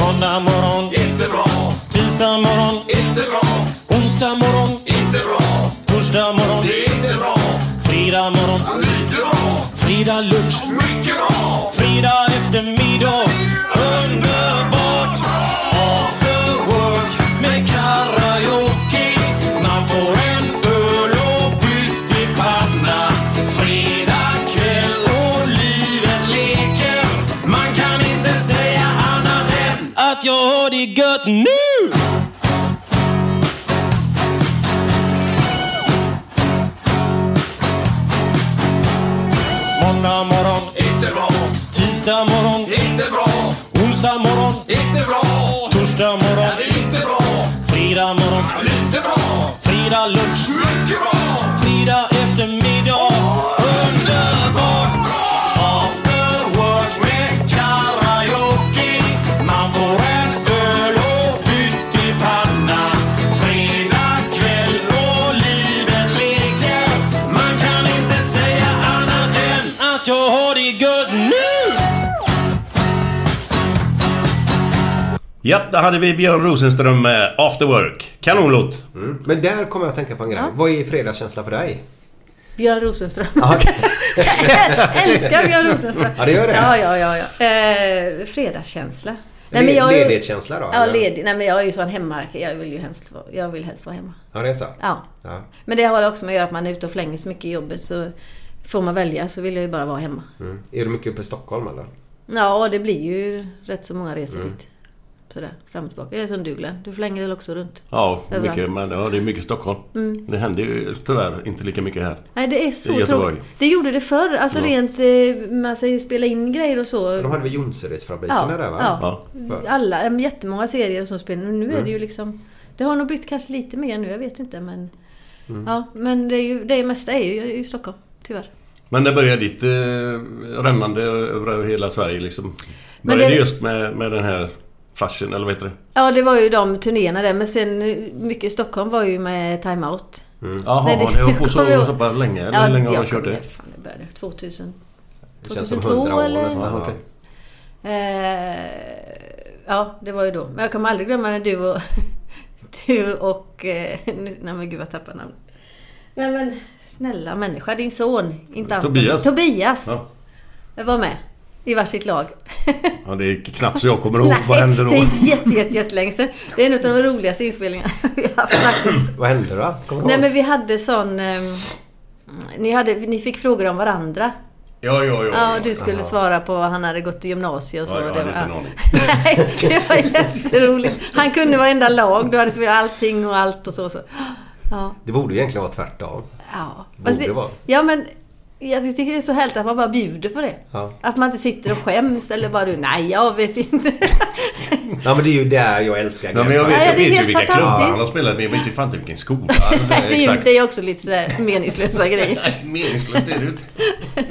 E: Måndag morgon, inte bra. Tisdag morgon, inte bra. Onsdag morgon, inte bra. Torsdag morgon, det är inte bra. Fredag morgon, lite bra. Fredag lunch, mycket bra. Fredag eftermiddag, underbart. After work med karaoke. Man får en öl och pyttipanna. Fredag kväll och livet leker. Man kan inte säga annat än att jag har det gött nu! Måndag morgon, inte bra. Tisdag morgon, inte bra. Onsdag morgon, inte bra. Torsdag morgon, inte bra. Fredag morgon, inte bra. Fredag lunch, mycket bra. Fredag eftermiddag, underbart. After work med karaoke. Man får en öl och pyttipanna. Fredag kväll och livet leker. Man kan inte säga annat än att jag har det gött nu.
B: Ja, där hade vi Björn Rosenström med After Work. Kanonlåt!
D: Mm. Men där kommer jag att tänka på en grej. Vad är fredagskänsla för dig?
C: Björn Rosenström.
D: Ja, okej.
C: Jag älskar Björn Rosenström.
D: Ja, det gör det.
C: Ja, ja, ja. ja. Eh, fredagskänsla.
D: Le-
C: är ju-
D: ledighetskänsla då,
C: Ja,
D: eller?
C: ledig. Nej, men jag är ju sån hemma. Jag vill ju helst vara, jag vill helst vara hemma.
D: Ja, det är så.
C: Ja.
D: Ja.
C: Men det har väl också med att göra att man är ute och flänger så mycket i jobbet så får man välja så vill jag ju bara vara hemma.
D: Mm. Är du mycket uppe i Stockholm eller?
C: Ja, det blir ju rätt så många
D: Mm.
C: resor dit. Sådär, fram och tillbaka. Det är som du Glenn. Du flänger väl också runt?
B: Ja,
C: Överallt. Mm.
B: mycket, men ja, det är mycket Stockholm. Det händer ju tyvärr inte lika mycket här.
C: Nej, det är
B: I
C: så
B: Göteborg.
C: tråkigt. Det gjorde det förr. Alltså rent... eh, Man säger spela in grejer och så.
D: De hade väl Jonseredsfabriken
C: Ja,
D: där va?
C: ja.
D: För-
C: Alla, eh, jättemånga serier som spelar. Nu
D: Mm.
C: är det ju liksom... Det har nog blivit kanske lite mer nu, jag vet inte men...
D: Mm.
C: Ja, men det, är ju, det mesta är ju i Stockholm, tyvärr.
B: Men när började ditt eh, rännande över hela Sverige liksom?
C: Men
B: Började det
C: det-
B: just med, med den här flashen, eller vad heter det?
C: Ja, det var ju de turnéerna där men sen eh, mycket i Stockholm var ju med Time Out.
B: Jaha,
C: Nej, det-
B: ni har hållit på
C: kommer jag
B: så,
C: ihåg.
B: så pass länge? Eller hur länge har
C: jag
B: ni kört
C: kommer-
B: det?
C: Fan, det började 2000.
D: Det känns som
C: 2002
D: hundra år
C: eller?
D: nästan.
B: Ja,
D: Ja,
B: okej.
C: Eh, ja, det var ju då. Men jag kommer aldrig glömma när du och... du och... Eh, nu- nej men gud, jag tappar namnet. Nej men, snälla människa. Din son. Inte Anton.
B: Tobias.
C: Tobias.
B: Ja.
C: Var med. I varsitt lag.
B: ja, det är knappt så jag kommer ihåg. vad hände då?
C: det är jätte, jätte, jättelänge sedan. Det är en av de roligaste inspelningarna vi har haft faktiskt.
D: Vad hände då? Kommer du
C: Nej
D: ihåg?
C: men vi hade sån... ehm, ni, hade, ni fick frågor om varandra.
B: Ja, ja, ja.
C: Ja, och du skulle svara på vad han hade gått i gymnasiet och så.
B: Ja, jag
C: det
B: hade inte en aning.
C: Nej, det var jätteroligt. Han kunde varenda lag. Du hade spelat allting och allt och så. så. Ja.
D: Det borde ju egentligen vara tvärtom.
C: ja.
D: Borde
C: Fast det-
D: vara.
C: Ja, men jag tycker det är så härligt att man bara bjuder på det.
D: Ja.
C: Att man inte sitter och skäms eller bara du, nej jag vet inte.
D: Ja men det är ju där jag älskar
B: Nej, men jag
C: Ja,
B: vet,
C: ja,
B: jag
C: det är
B: vet ju
C: helt
B: vilka klubbar
C: fantastiskt.
B: han har spelat med, men inte fan inte vilken skola.
C: det, är ju,
B: Exakt.
C: det är också lite sådär meningslösa grejer.
B: Meningslöst är det ut.
D: Ja,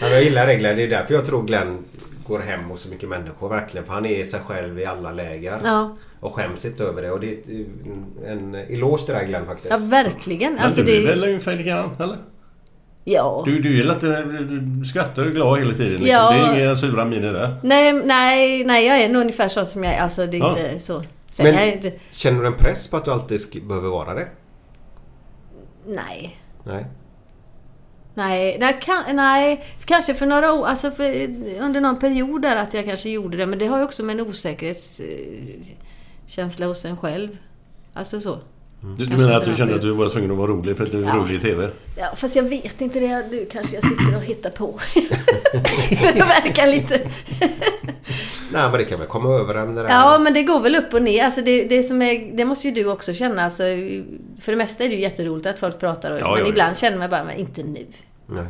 D: men jag gillar det Glenn. Det är därför jag tror Glenn går hem hos så mycket människor verkligen. För han är sig själv i alla läger.
C: Ja.
D: Och skäms inte över det. Och det är ett- en eloge till dig Glenn faktiskt.
C: Ja, verkligen.
B: Men
C: Alltså,
B: du är
C: det,
B: väl ungefär likadan, eller?
C: ja.
B: Du, du gillar inte... Du skrattar och är glad hela tiden. Liksom.
C: Ja.
B: Det är inga sura miner där.
C: Nej, nej, nej, jag är nog ungefär så som jag är. Alltså det är
B: Ja.
C: inte så. Sen
D: Men
C: är jag ju inte...
D: känner du en press på att du alltid sk- behöver vara det?
C: Nej.
D: Nej.
C: Nej, nej, kan, nej, kanske för några år, alltså för, under någon period där att jag kanske gjorde det. Men det har ju också med en osäkerhetskänsla hos en själv. Alltså så.
B: Du, du
C: Kanske
B: menar
C: inte
B: att du
C: den
B: kände
C: här
B: att du var tvungen att vara rolig för att du är
C: Ja.
B: rolig i TV?
C: Ja, fast jag vet inte det. Nu kanske jag sitter och hittar på. för det verkar lite...
D: Nej men det kan väl komma över en det där.
C: Ja, men det går väl upp och ner. Alltså det, det, som är, det måste ju du också känna. Alltså, för det mesta är det ju jätteroligt att folk pratar. Och,
B: Ja,
C: men
B: ja, ja.
C: ibland känner man bara, men inte nu.
D: Nej.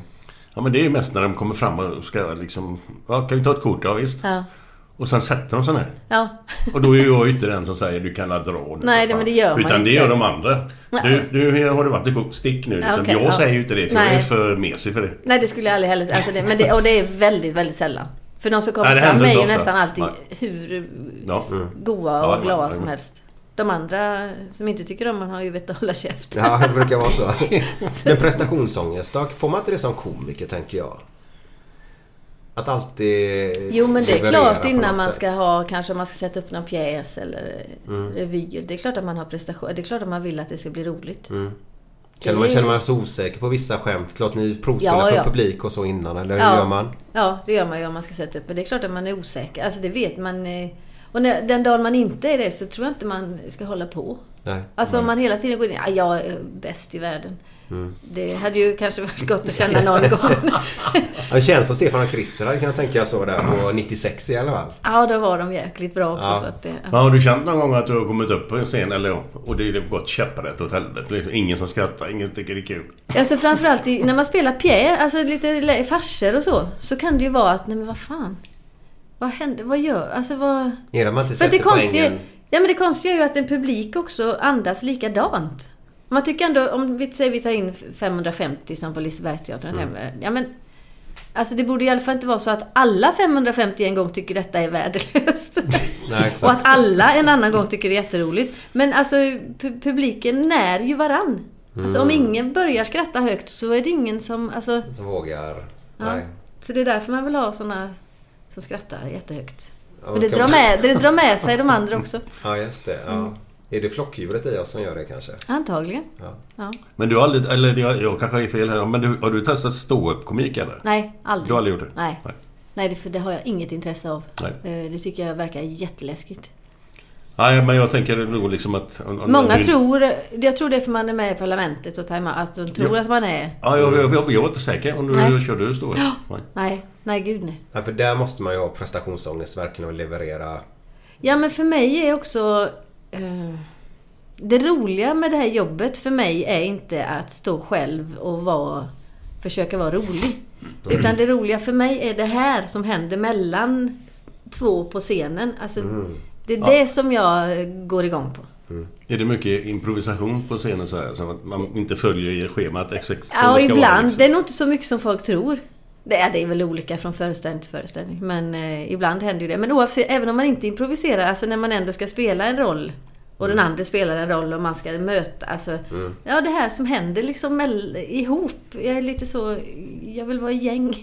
B: Ja, men det är ju mest när de kommer fram och ska liksom... Ja, kan vi ta ett kort? Ja, visst.
C: Ja.
B: Och sen sätter de sig ner.
C: ja.
B: Och då är jag ju inte den som säger du kan la dra nu,
C: Nej,
B: för fan."
C: men det gör man
B: Utan
C: inte.
B: det gör de andra. Du,
C: Nej.
B: du har du varit i kok- stick nu liksom.
C: okej,
B: Jag
C: ja.
B: säger ju inte det för jag är
C: Nej.
B: för mesig för det.
C: Nej, det skulle jag aldrig heller alltså det, men det, Och det är väldigt, väldigt sällan. För de som kommer
B: Nej, det
C: fram
B: händer
C: är
B: inte
C: ju
B: ofta.
C: nästan alltid
B: Nej.
C: hur
B: Ja.
C: Mm. goa
B: Ja,
C: och
B: det var-
C: glada
B: det
C: som
B: var-
C: helst. De andra som inte tycker om man har ju vett att hålla käft.
D: Ja, det brukar vara så. Men prestationsångest då? Får man inte det som komiker tänker jag? Att alltid...
C: Jo men det är
D: leverera
C: klart
D: på
C: innan
D: något
C: man
D: sätt.
C: ska ha, kanske om man ska sätta upp någon pjäs eller
B: Mm.
C: revy. Det är klart att man har prestation. Det är klart att man vill att det ska bli roligt.
B: Mm.
D: Känner man, känner man sig osäker på vissa skämt? Klart ni provspelar
C: Ja,
D: för
C: ja.
D: publik och så innan eller hur
C: Ja.
D: gör man?
C: Ja, det gör man ju om man ska sätta upp. Men det är klart att man är osäker. Alltså det vet man. eh, Och när, den dagen man inte är det så tror jag inte man ska hålla på.
D: Nej. Mm.
C: Alltså om man hela tiden går in ja, jag är bäst i världen. Det hade ju kanske varit gott att känna någon gång.
D: Ja, Det känns som Stefan och Christer hade kunnat tänka så där på 96 i alla fall.
C: ja, då var de jäkligt bra också.
D: Ja.
C: Så att det,
B: Men har du känt någon gång att du har kommit upp på en scen eller ja, och det har gått käpprätt åt helvete? Liksom, ingen som skrattar, ingen tycker det är kul.
C: Alltså framförallt i, när man spelar pjäs, alltså lite lä- farser och så, så kan det ju vara att, nej men vad fan. Vad händer? Vad gör? Alltså vad...
D: Är det man inte
C: För att det
D: sätter
C: konstiga,
D: poängen?
C: ja, men det konstiga är ju att en publik också andas likadant. Man tycker ändå, om vi säger vi tar in 550 som på Lisebergsteatern. Mm. Ja, men, alltså det borde i alla fall inte vara så att alla 550 en gång tycker detta är värdelöst.
D: Nej, exakt.
C: Och att alla en annan gång tycker det är jätteroligt. Men alltså pu- publiken när ju varann. Alltså
D: Mm.
C: om ingen börjar skratta högt så är det ingen som... Alltså,
D: Som vågar...
C: ja.
D: Nej.
C: Så det är därför man vill ha såna som skrattar jättehögt. Och det drar, med, det drar med sig de andra också.
D: Ja, just det. Ja.
C: Mm.
D: Är det flockdjuret i oss som gör det kanske?
C: Antagligen.
D: Ja.
C: Ja.
B: Men du har aldrig, eller jag, jag kanske är fel här, men du, har du testat ståuppkomik eller?
C: Nej, aldrig.
B: Du har aldrig gjort det?
C: Nej. Nej, det, för det har jag inget intresse av.
B: Nej.
C: Eh, Det tycker jag verkar jätteläskigt.
B: Nej, men jag tänker nog liksom att... om- om
C: Många
B: du-
C: tror, jag tror det är för man är med i Parlamentet och tajmar, att de tror
B: Ja.
C: att man är...
B: Ja, jag, jag, jag, jag var inte säker om du
C: Nej.
B: körde du ståupp. Nej.
C: Nej, nej gud nej.
D: Ja, för där måste man ju ha prestationsångest verkligen och leverera.
C: Ja men för mig är också... eh, det roliga med det här jobbet för mig är inte att stå själv och vara, försöka vara rolig. Utan det roliga för mig är det här som händer mellan två på scenen. Alltså, Det är det som jag går igång på.
B: Är det mycket improvisation på scenen så här? Så att man inte följer i schemat exakt som
C: Ja,
B: det ska
C: ibland.
B: vara? liksom?
C: Det är nog inte så mycket som folk tror. Det är, det är väl olika från föreställning till föreställning. Men eh, ibland händer ju det. Men oavsett, även om man inte improviserar, alltså när man ändå ska spela en roll och den
B: Mm.
C: andra spelar en roll och man ska möta. Alltså, Ja, det här som händer liksom mell- ihop. Jag är lite så... Jag vill vara i gäng.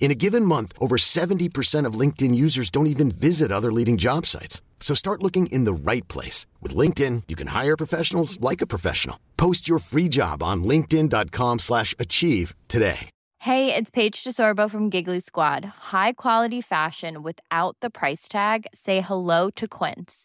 F: In a given month, over 70% of LinkedIn users don't even visit other leading job sites. So start looking in the right place. With LinkedIn, you can hire professionals like a professional. Post your free job on linkedin.com/achieve slash achieve today.
G: Hey, it's Paige DeSorbo from Giggly Squad. High quality fashion without the price tag. Say hello to Quince.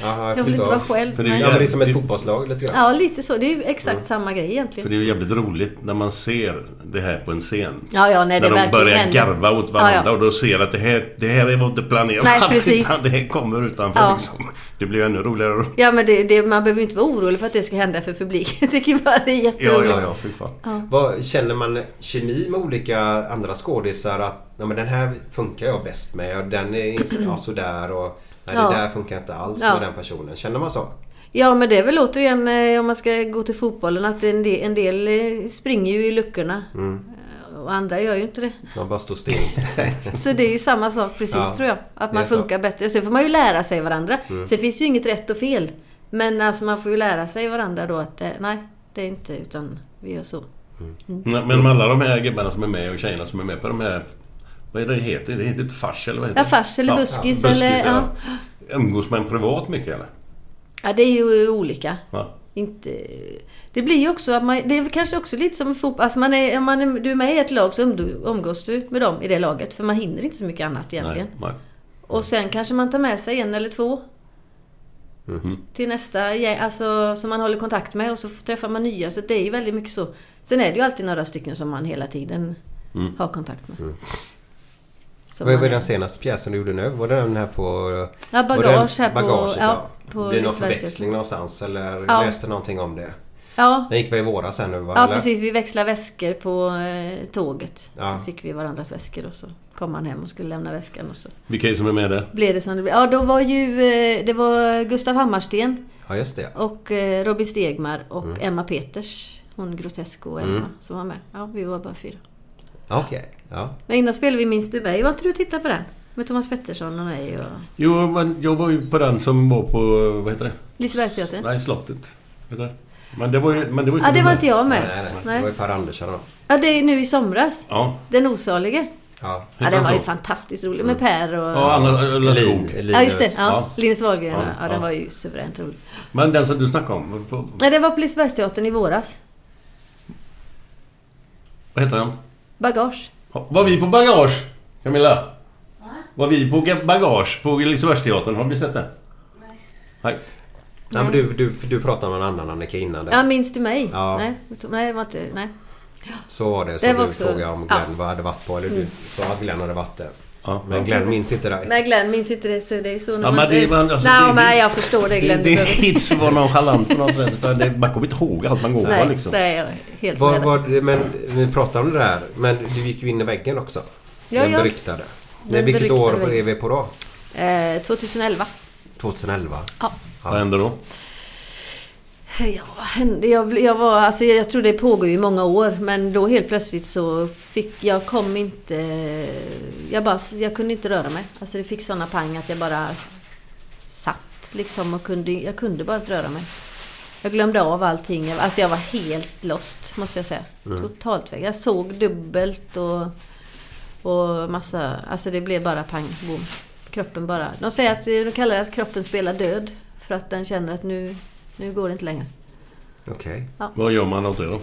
D: Jaha, jag,
C: Jag vill inte
D: förstår.
C: vara själv.
B: För det är
C: nej.
D: Ja, men det är som ett fotbollslag lite grann.
C: Ja, lite så. Det är ju exakt
B: Mm.
C: samma grej
B: För
C: egentligen.
B: det är ju jävligt roligt när man ser det här på en scen.
C: Ja, ja, nej, det
B: när de
C: verkligen
B: börjar
C: händer.
B: garva åt varandra
C: Ja, ja.
B: och då ser att det här, det här var inte planerat.
C: Nej, precis.
B: Utan det här kommer utanför
C: Ja.
B: liksom. Det blir ju ännu roligare.
C: Ja, men det, det, man behöver ju inte vara orolig för att det ska hända för publiken. Jag tycker bara det är
B: Ja,
C: jätteroligt.
B: ja, ja. Fy fan.
D: Vad, känner man kemi med olika andra skådisar? Att ja, men den här funkar jag bäst med. Och den är inte- ja, sådär och nej,
C: Ja.
D: det där funkar inte alls
C: Ja.
D: med den personen. Känner man så?
C: Ja men det är väl återigen eh, om man ska gå till fotbollen att en del, en del eh, springer ju i luckorna.
D: Mm.
C: Eh, Och andra gör ju inte det.
D: Man bara står still.
C: Så det är ju samma sak precis
D: Ja,
C: tror jag. Att
D: det
C: man
D: är så. Mm.
C: funkar bättre. Sen får man ju lära sig varandra. Sen finns ju inget rätt och fel. Men alltså man får ju lära sig varandra då att eh, nej, det är inte utan vi gör så.
B: Nej, Men med alla de här gubbarna som är med och tjejerna som är med på de här... Vad är det det heter? Det heter inte fars eller vad heter
C: Ja,
B: det?
C: fars eller buskis eller-
B: ja. Umgås man privat mycket eller?
C: Ja det är ju olika.
B: Ja.
C: Inte... Det blir ju också att man, det är väl kanske också lite som fotboll. Alltså man är, om man är, du är med i ett lag så umg- umgås du med dem i det laget. För man hinner inte så mycket annat egentligen.
B: Nej, nej.
C: Och sen kanske man tar med sig en eller två. Till nästa gäng, alltså som man håller kontakt med och så f- träffar man nya. Så det är ju väldigt mycket så. Sen är det ju alltid några stycken som man hela tiden har kontakt med. Som
D: Vad
C: man
D: var
C: är-
D: den senaste pjäsen du gjorde nu? Var det den här på...
C: Ja,
D: var
C: bagage
D: den-
C: här på-
D: Bagaget, ja.
C: ja, på
D: det är någon
C: Lisebergs
D: förväxling någonstans eller
C: Ja.
D: läste någonting om det.
C: Ja,
D: Den gick väl i våras här nu va?
C: ja
D: eller?
C: precis. Vi växlade väskor på eh, tåget.
D: Ja.
C: Så fick vi varandras väskor och så kom han hem och skulle lämna väskan och så
B: Vilka är det som är med där?
C: blev det som det blev. Ja, då var ju... eh, Det var Gustav Hammarsten
D: Ja just det.
C: och eh, Robin Stegmar och
D: Mm.
C: Emma Peters. Hon grotesk och Emma som var med. Ja, vi var bara fyra.
D: Ja, Okej. Ja.
C: Men innan spelade vi Minns du mig? Var inte du och tittade på den? Med Thomas Pettersson och mig och
B: Jo, men jag var ju på den som var på... Vad heter det?
C: Lisebergsteatern.
B: Nej, slottet. Vad heter det? Men det var ju... Men det var ju
C: Ja, det var
B: med.
C: inte jag med.
D: Nej, nej.
C: Nej.
D: Det var ju Per Andersson då.
C: Ja, det är nu i somras.
B: Ja.
C: Den osalige.
D: Ja.
C: Ja, den var ju
B: så?
C: fantastiskt
D: Mm.
C: rolig med Per och...
B: Ja, Anna Lundskog.
C: Ja, just det. Ja.
B: Ja.
C: Linus Wahlgren. Ja,
B: Ja,
C: ja, den
B: ja.
C: var ju suveränt rolig.
B: Men den som du snackade om. vad- Vad
C: Nej, det var på Lisebergsteatern i våras.
B: vad heter den?
C: Bagage.
B: Var vi på Bagage, Camilla? Var vi på ga- Bagage på Lisebergsteatern? Har du sett det? Nej.
D: Nej, men du, du, du pratade med en annan Annika innan det.
C: Ja, minns du mig?
D: Ja.
C: Nej, nej, det var inte... Nej.
D: Så var det. Så
C: Det
D: du
C: var också-
D: frågade om
C: ja. Mm.
D: Glenn vad hade varit på. Eller du sa att Glenn hade varit där.
B: Ja.
D: Men Glenn minns inte det.
C: Nej, Glenn minns inte det. Så det är så när
B: Ja,
C: man
B: men det,
C: inte-
B: man, alltså,
C: nej,
B: det,
C: men jag förstår det Glenn. Du
B: Det, det
C: behöver-
B: är inte för att vara nonchalant på något sätt. Utan det, man kommer inte ihåg allt man går på
C: nej,
B: liksom.
C: det är jag helt
D: Var,
C: med dig.
D: var, men vi pratade om det här. Men du gick ju in i väggen också.
C: Ja,
D: den
C: ja.
D: beryktade.
C: Den
D: Men vilket
C: beryktade
D: år är
C: väggen.
D: vi på då?
C: Eh, 2011.
D: 2011?
B: Vad händer då?
C: Ja, vad hände? jag, bl- jag, var, alltså, jag tror det pågår ju i många år men då helt plötsligt så fick jag kom inte... Jag, bara, jag kunde inte röra mig. Alltså det fick såna pang att jag bara satt liksom och kunde, jag kunde bara inte röra mig. Jag glömde av allting. Jag- Alltså jag var helt lost måste jag säga. Totalt väg. Jag såg dubbelt och, och massa... Alltså det blev bara pang, boom. Kroppen bara... De säger att, de kallar det att kroppen spelar död. För att den känner att nu, nu går det inte längre.
D: Okej.
B: Vad gör man åt det då?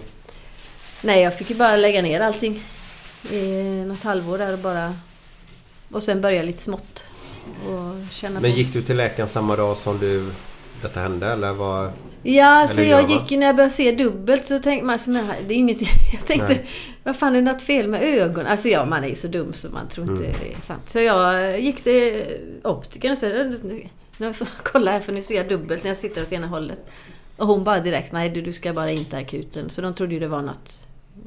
C: Nej, jag fick ju bara lägga ner allting i något halvår där och bara... Och sen börja lite smått. Och känna
D: Men
C: på.
D: gick du till läkaren samma dag som du detta hände eller var...
C: Ja, så
D: eller
C: jag
D: gör, va?
C: gick ju när jag började se dubbelt så tänkte man... Alltså, men det är inget... Jag tänkte... Vad fan är det något fel med ögonen? Alltså ja, man är ju så dum så man tror
D: Mm.
C: inte det är sant. Så jag gick till optikern och sa... "Nu- Nu får jag kolla här för nu ser jag dubbelt när jag sitter åt ena hållet. Och hon bara direkt... Nej du, du ska bara in till akuten. Så de trodde ju det var något...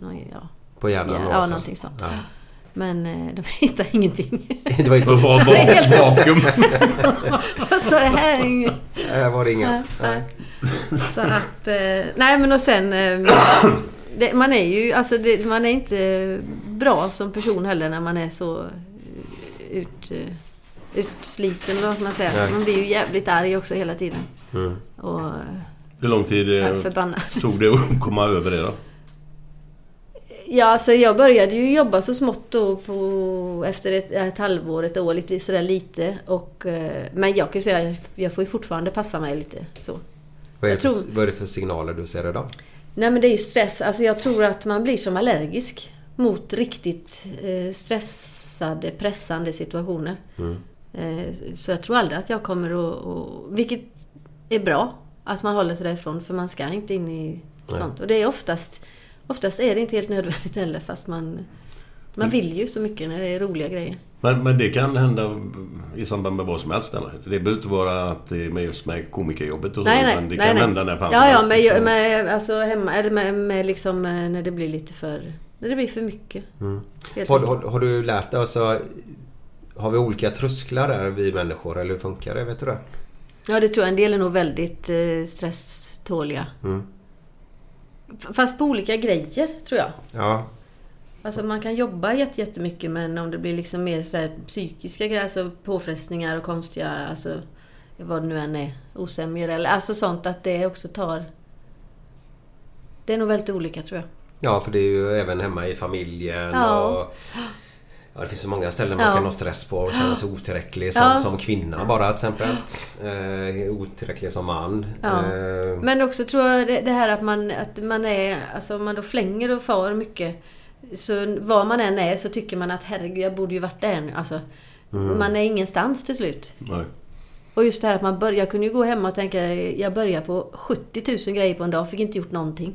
C: någon- Ja,
D: På hjärnan?
C: ja,
D: då,
C: ja
D: alltså?
C: någonting sånt.
D: Ja.
C: Men eh, de hittade ingenting.
D: Det var inte...
B: Vad var
C: helt
B: var- vakuum?
C: Så det här är inget.
D: Här äh, var det
C: Nej,
D: inget.
C: nej. Så att... eh, Nej men och sen... eh, Det, man är ju... Alltså det, man är inte bra som person heller när man är så eh, ut, eh, utsliten eller vad man säger.
D: Nej.
C: Man blir ju jävligt arg också hela tiden.
D: Mm.
C: Och eh,
B: Hur lång tid eh,
C: förbannad.
B: tog det att komma över det då?
C: Ja, alltså jag började ju jobba så smått då på, efter ett, ett halvår, ett år, lite sådär lite. Och, eh, men jag kan ju säga, jag, jag får ju fortfarande passa mig lite så.
D: Vad, är
C: Jag
D: det för,
C: tror-
D: vad är det för signaler du ser idag?
C: Nej men det är ju stress. Alltså jag tror att man blir som allergisk mot riktigt eh, stressade, pressande situationer.
B: Mm.
C: Eh, så jag tror aldrig att jag kommer att... att- Vilket är bra, att man håller sig därifrån för man ska inte in i sånt. Och det är oftast... Oftast är det inte helt nödvändigt heller fast man...
B: Mm.
C: Man vill ju så mycket när det är roliga grejer.
B: Men, men det kan hända i samband med vad som helst eller? Det behöver inte vara att det är med just med komikerjobbet och så.
C: Nej, nej,
B: men det
C: nej,
B: kan
C: nej.
B: hända när fan
C: Ja,
B: som
C: ja,
B: helst,
C: men,
B: liksom.
C: jag- men alltså hemma... Eller med, med liksom eh, när det blir lite för... När det blir för mycket.
B: Mm.
C: Helt
D: Har,
C: enkelt.
D: har, har du lärt dig alltså... Har vi olika trösklar där vi människor eller hur funkar det? Vet du det?
C: Ja, det tror jag. En del är nog väldigt eh, stresståliga. F- Fast på olika grejer, tror jag.
D: Ja.
C: Alltså man kan jobba jätte- jättemycket men om det blir liksom mer sådär psykiska grejer, alltså påfrestningar och konstiga, alltså vad det nu än är, osämjor eller alltså sånt att det också tar... Det är nog väldigt olika tror jag.
D: Ja för det är ju även hemma i familjen
C: Ja.
D: och... Ja, det finns så många ställen man
C: Ja.
D: kan ha stress på och känna sig otillräcklig som,
C: Ja.
D: som kvinna bara till exempel. Eh, otillräcklig som man.
C: Ja.
D: Eh,
C: Men också tror jag det, det här att man, att man är, alltså om man då flänger och far mycket. Så var man än är så tycker man att herregud jag borde ju varit där nu. Alltså, Man är ingenstans till slut.
B: Nej.
C: Och just det här att man börjar, jag kunde ju gå hemma och tänka, jag börjar på 70 000 grejer på en dag, fick inte gjort någonting.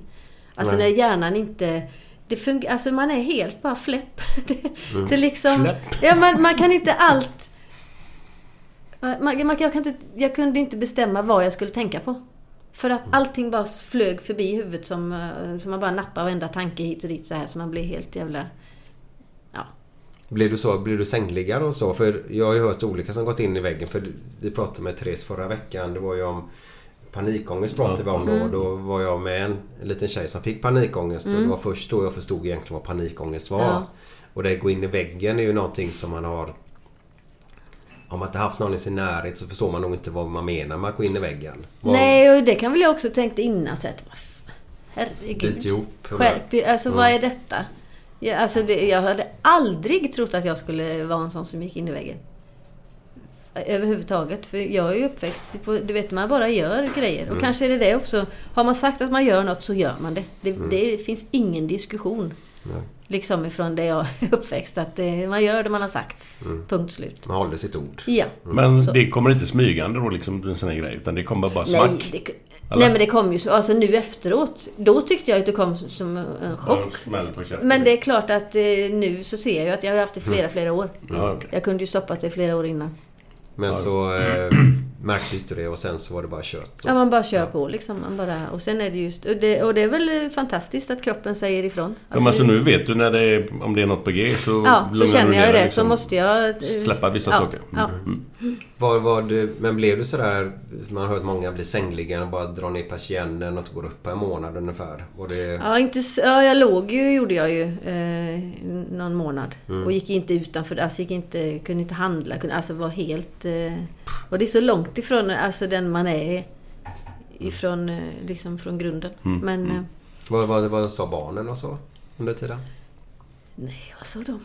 C: Alltså
D: Nej.
C: när hjärnan inte... Det fun- alltså man är helt bara fläpp. Det, det är liksom...
B: Fläpp.
C: Ja, man, man kan inte allt... Man, man, jag, kan inte, jag kunde inte bestämma vad jag skulle tänka på. För att allting bara flög förbi huvudet som, eh, som man bara nappar varenda tanke hit och dit så här så man blir helt jävla... Ja.
D: Blir du, så, blir du sängliggare och så? För jag har ju hört olika som gått in i väggen. För vi pratade med Therese förra veckan. Det var ju om panikångest pratade vi om då. Och Då var jag med en, en liten tjej som fick panikångest. Och det var först då jag förstod egentligen vad panikångest var.
C: Ja.
D: Och det att gå in i väggen är ju någonting som man har... Om man inte haft någon i sin närhet så förstår man nog inte vad man menar med att gå in i väggen. Vad-
C: Nej, och det kan väl jag också tänkt innan. Så att, "Vad fan, Herregud.
D: Bit ihop. Mm.
C: Skärp er. Alltså vad är detta? Jag, alltså, det, jag hade aldrig trott att jag skulle vara en sån som gick in i väggen. Överhuvudtaget. För jag är ju uppväxt på, du vet man bara gör grejer.
D: Mm.
C: Och kanske är det det också. Har man sagt att man gör något så gör man det. Det,
D: Mm.
C: det finns ingen diskussion. Liksom ifrån det jag är uppväxt. Att det, man gör det man har sagt.
D: Mm.
C: Punkt slut.
D: Man håller sitt ord.
C: Ja.
B: Men
C: Så.
B: det kommer inte smygande då liksom, en sån här grej. Utan det kommer bara smack.
C: Nej, det, nej men det kom ju så, alltså nu efteråt. Då tyckte jag att det kom som- som en chock.
B: Ja, smäll på käften.
C: Men det är klart att eh, nu så ser jag ju att jag har haft det flera, flera år.
B: Mm. Ja, okej.
C: Jag kunde ju stoppat det flera år innan.
D: Men så eh, märkte inte det och sen så var det bara kött.
C: Ja, man bara kör på liksom. Man bara, och sen är det just... Och det, och det är väl eh, fantastiskt att kroppen säger ifrån.
B: Ja, men alltså nu vet du när det är, om det är något på G så...
C: ja, så
B: lugnar du
C: känner
B: ner
C: jag ju
B: dig
C: det.
B: liksom.
C: Så måste jag... eh,
B: släppa vissa
C: ja,
B: saker. Mm.
C: Ja.
D: Var, var du, men blev du sådär, man har hört många bli sängliga och bara dra ner persiennen och inte går upp på en månad ungefär. Var det,
C: Ja, inte, s- ja, jag låg ju, gjorde jag ju, eh, någon månad. Och gick inte utanför, alltså gick inte, kunde inte handla, kunde, alltså var helt... Eh, och det är så långt ifrån alltså, den man är ifrån, eh, liksom från grunden. Men eh,
D: vad, vad, vad sa barnen och så under tiden?
C: nej, vad sa de?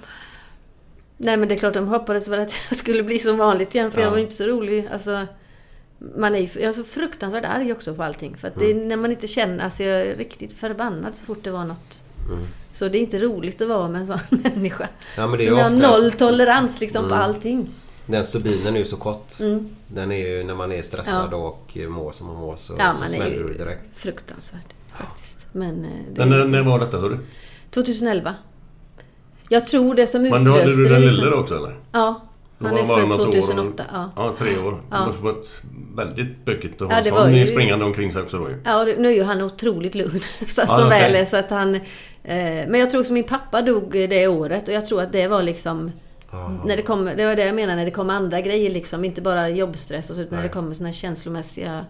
C: Nej men det är klart de hoppades väl att jag skulle bli som vanligt igen för jag var ju inte så rolig. Alltså, man är ju, jag är så fruktansvärt arg också på allting. För att det
B: Mm.
C: är när man inte känner, alltså jag är riktigt förbannad så fort det var något.
B: Mm.
C: Så det är inte roligt att vara med en sån människa.
D: Ja, men det är
C: som
D: ju
C: har
D: oftast-
C: noll tolerans liksom
B: Mm.
C: på allting.
D: Den stubinen är ju så kort.
C: Mm.
D: Den är ju när man är stressad och mår som man mår så,
C: Ja,
D: så
C: man är
D: smäller
C: ju
D: du direkt.
C: fruktansvärd faktiskt. Men eh, det
B: Men
C: är
B: när,
C: så.
B: när var detta sa du?
C: 2011. Jag tror det som
B: Men då hade
C: utlöste
B: du den
C: det, liksom.
B: lille då också eller?
C: Ja.
B: Då
C: Han är
B: var något
C: född
B: år och-
C: 2008. Ja.
B: ja, tre år. Det måste varit väldigt bökigt att ha
C: Ja, det
B: en
C: var
B: sån
C: ju-
B: springande omkring sig också då ju.
C: Ja, och det- nu är ju han otroligt lugn. Så,
B: Ja,
C: som
B: okej.
C: väl är så att han... Eh, men jag tror också min pappa dog det året och jag tror att det var liksom... När det, kom, det var det jag menade, när det kom andra grejer liksom. Inte bara jobbstress och så, utan när det kommer såna här känslomässiga...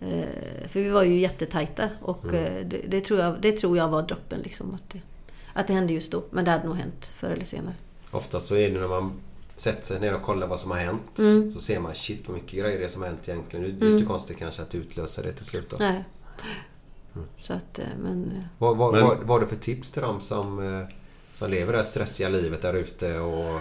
C: Eh, för vi var ju jättetajta och
B: Mm.
C: eh, det, det, tror jag, det tror jag var droppen liksom. Att det, att det hände just då. Men det hade nog hänt förr eller senare.
D: Ofta så är det när man sätter sig ner och kollar vad som har hänt.
C: Mm.
D: Så ser man shit vad mycket grejer det är som har hänt egentligen. Det är ju inte konstigt kanske att utlösa det till slut då.
C: Nej.
B: Mm.
C: Så att, eh, men... eh,
D: Vad, vad,
B: Men-
D: vad, vad har du för tips till dem som, eh, som lever det här stressiga livet där ute och...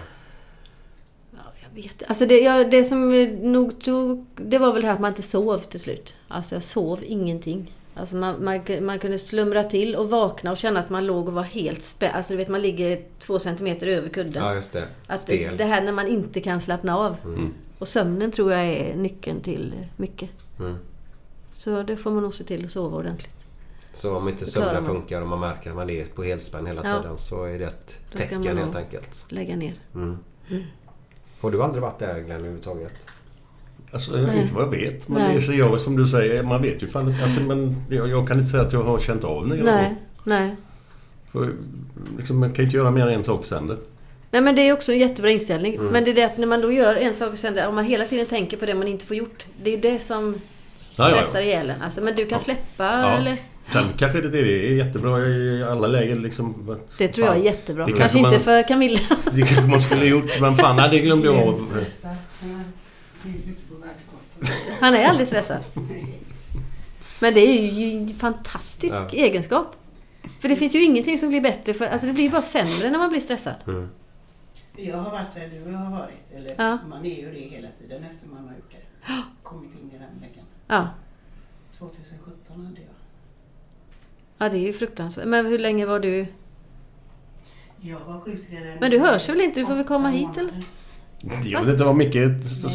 C: Jag vet Alltså det, jag, det som eh, nog tog... Det var väl det här att man inte sov till slut. Alltså jag sov ingenting. Alltså man, man, ku- man kunde slumra till och vakna och känna att man låg och var helt spänd. Alltså du vet man ligger två centimeter över kudden.
D: Ja just det.
C: att det,
D: Stel. Mm.
C: det här när man inte kan slappna av. Och sömnen tror jag är nyckeln till mycket.
D: Mm.
C: Så det får man nog se till att sova ordentligt.
D: Så om inte
C: klarar
D: sömnen
C: man.
D: funkar och man märker att man är på helspänn hela
C: Ja.
D: tiden så är det ett
C: Då ska
D: tecken
C: man ha-
D: helt enkelt.
C: Lägga ner.
D: Mm. Har du aldrig varit där Glenn överhuvudtaget?
B: Alltså, jag vet inte vad jag vet. Men
C: Nej.
B: det är så jag, som du säger, man vet ju fan inte. alltså, men jag, jag kan inte säga att jag har känt av det.
C: Nej, nej.
B: För, liksom, man kan ju inte göra mer än en sak sen. det.
C: Nej men det är också en jättebra inställning.
B: Mm.
C: Men det är det att när man då gör en sak och sen det, om man hela tiden tänker på det man inte får gjort. Det är det som
B: Ja, ja, ja.
C: stressar ihjäl en. Alltså, men du kan släppa eller?
B: Sen kanske det, det är jättebra i alla lägen liksom. att-
C: Det tror jag
B: fan,
C: är jättebra.
B: det
C: Kanske
B: man,
C: inte för Camilla.
B: Det kanske man skulle ha gjort. Men fan, nej, det glömde jag av.
C: Han är aldrig stressad. Men det är ju en fantastisk egenskap. För det finns ju ingenting som blir bättre. För, alltså det blir ju bara sämre när man blir stressad.
H: Jag har varit där du har varit. Eller
C: Ja.
H: Man är ju det hela tiden efter man har gjort det. Kommit in i den väggen.
C: Ja.
H: 2017 hade jag.
C: ja, det är ju fruktansvärt. Men hur länge var du...
H: Jag var sjukskriven.
C: Men du hörs väl inte? Du får väl
H: åtta
C: komma hit, eller?
H: månader.
B: Jag vet inte vad Micke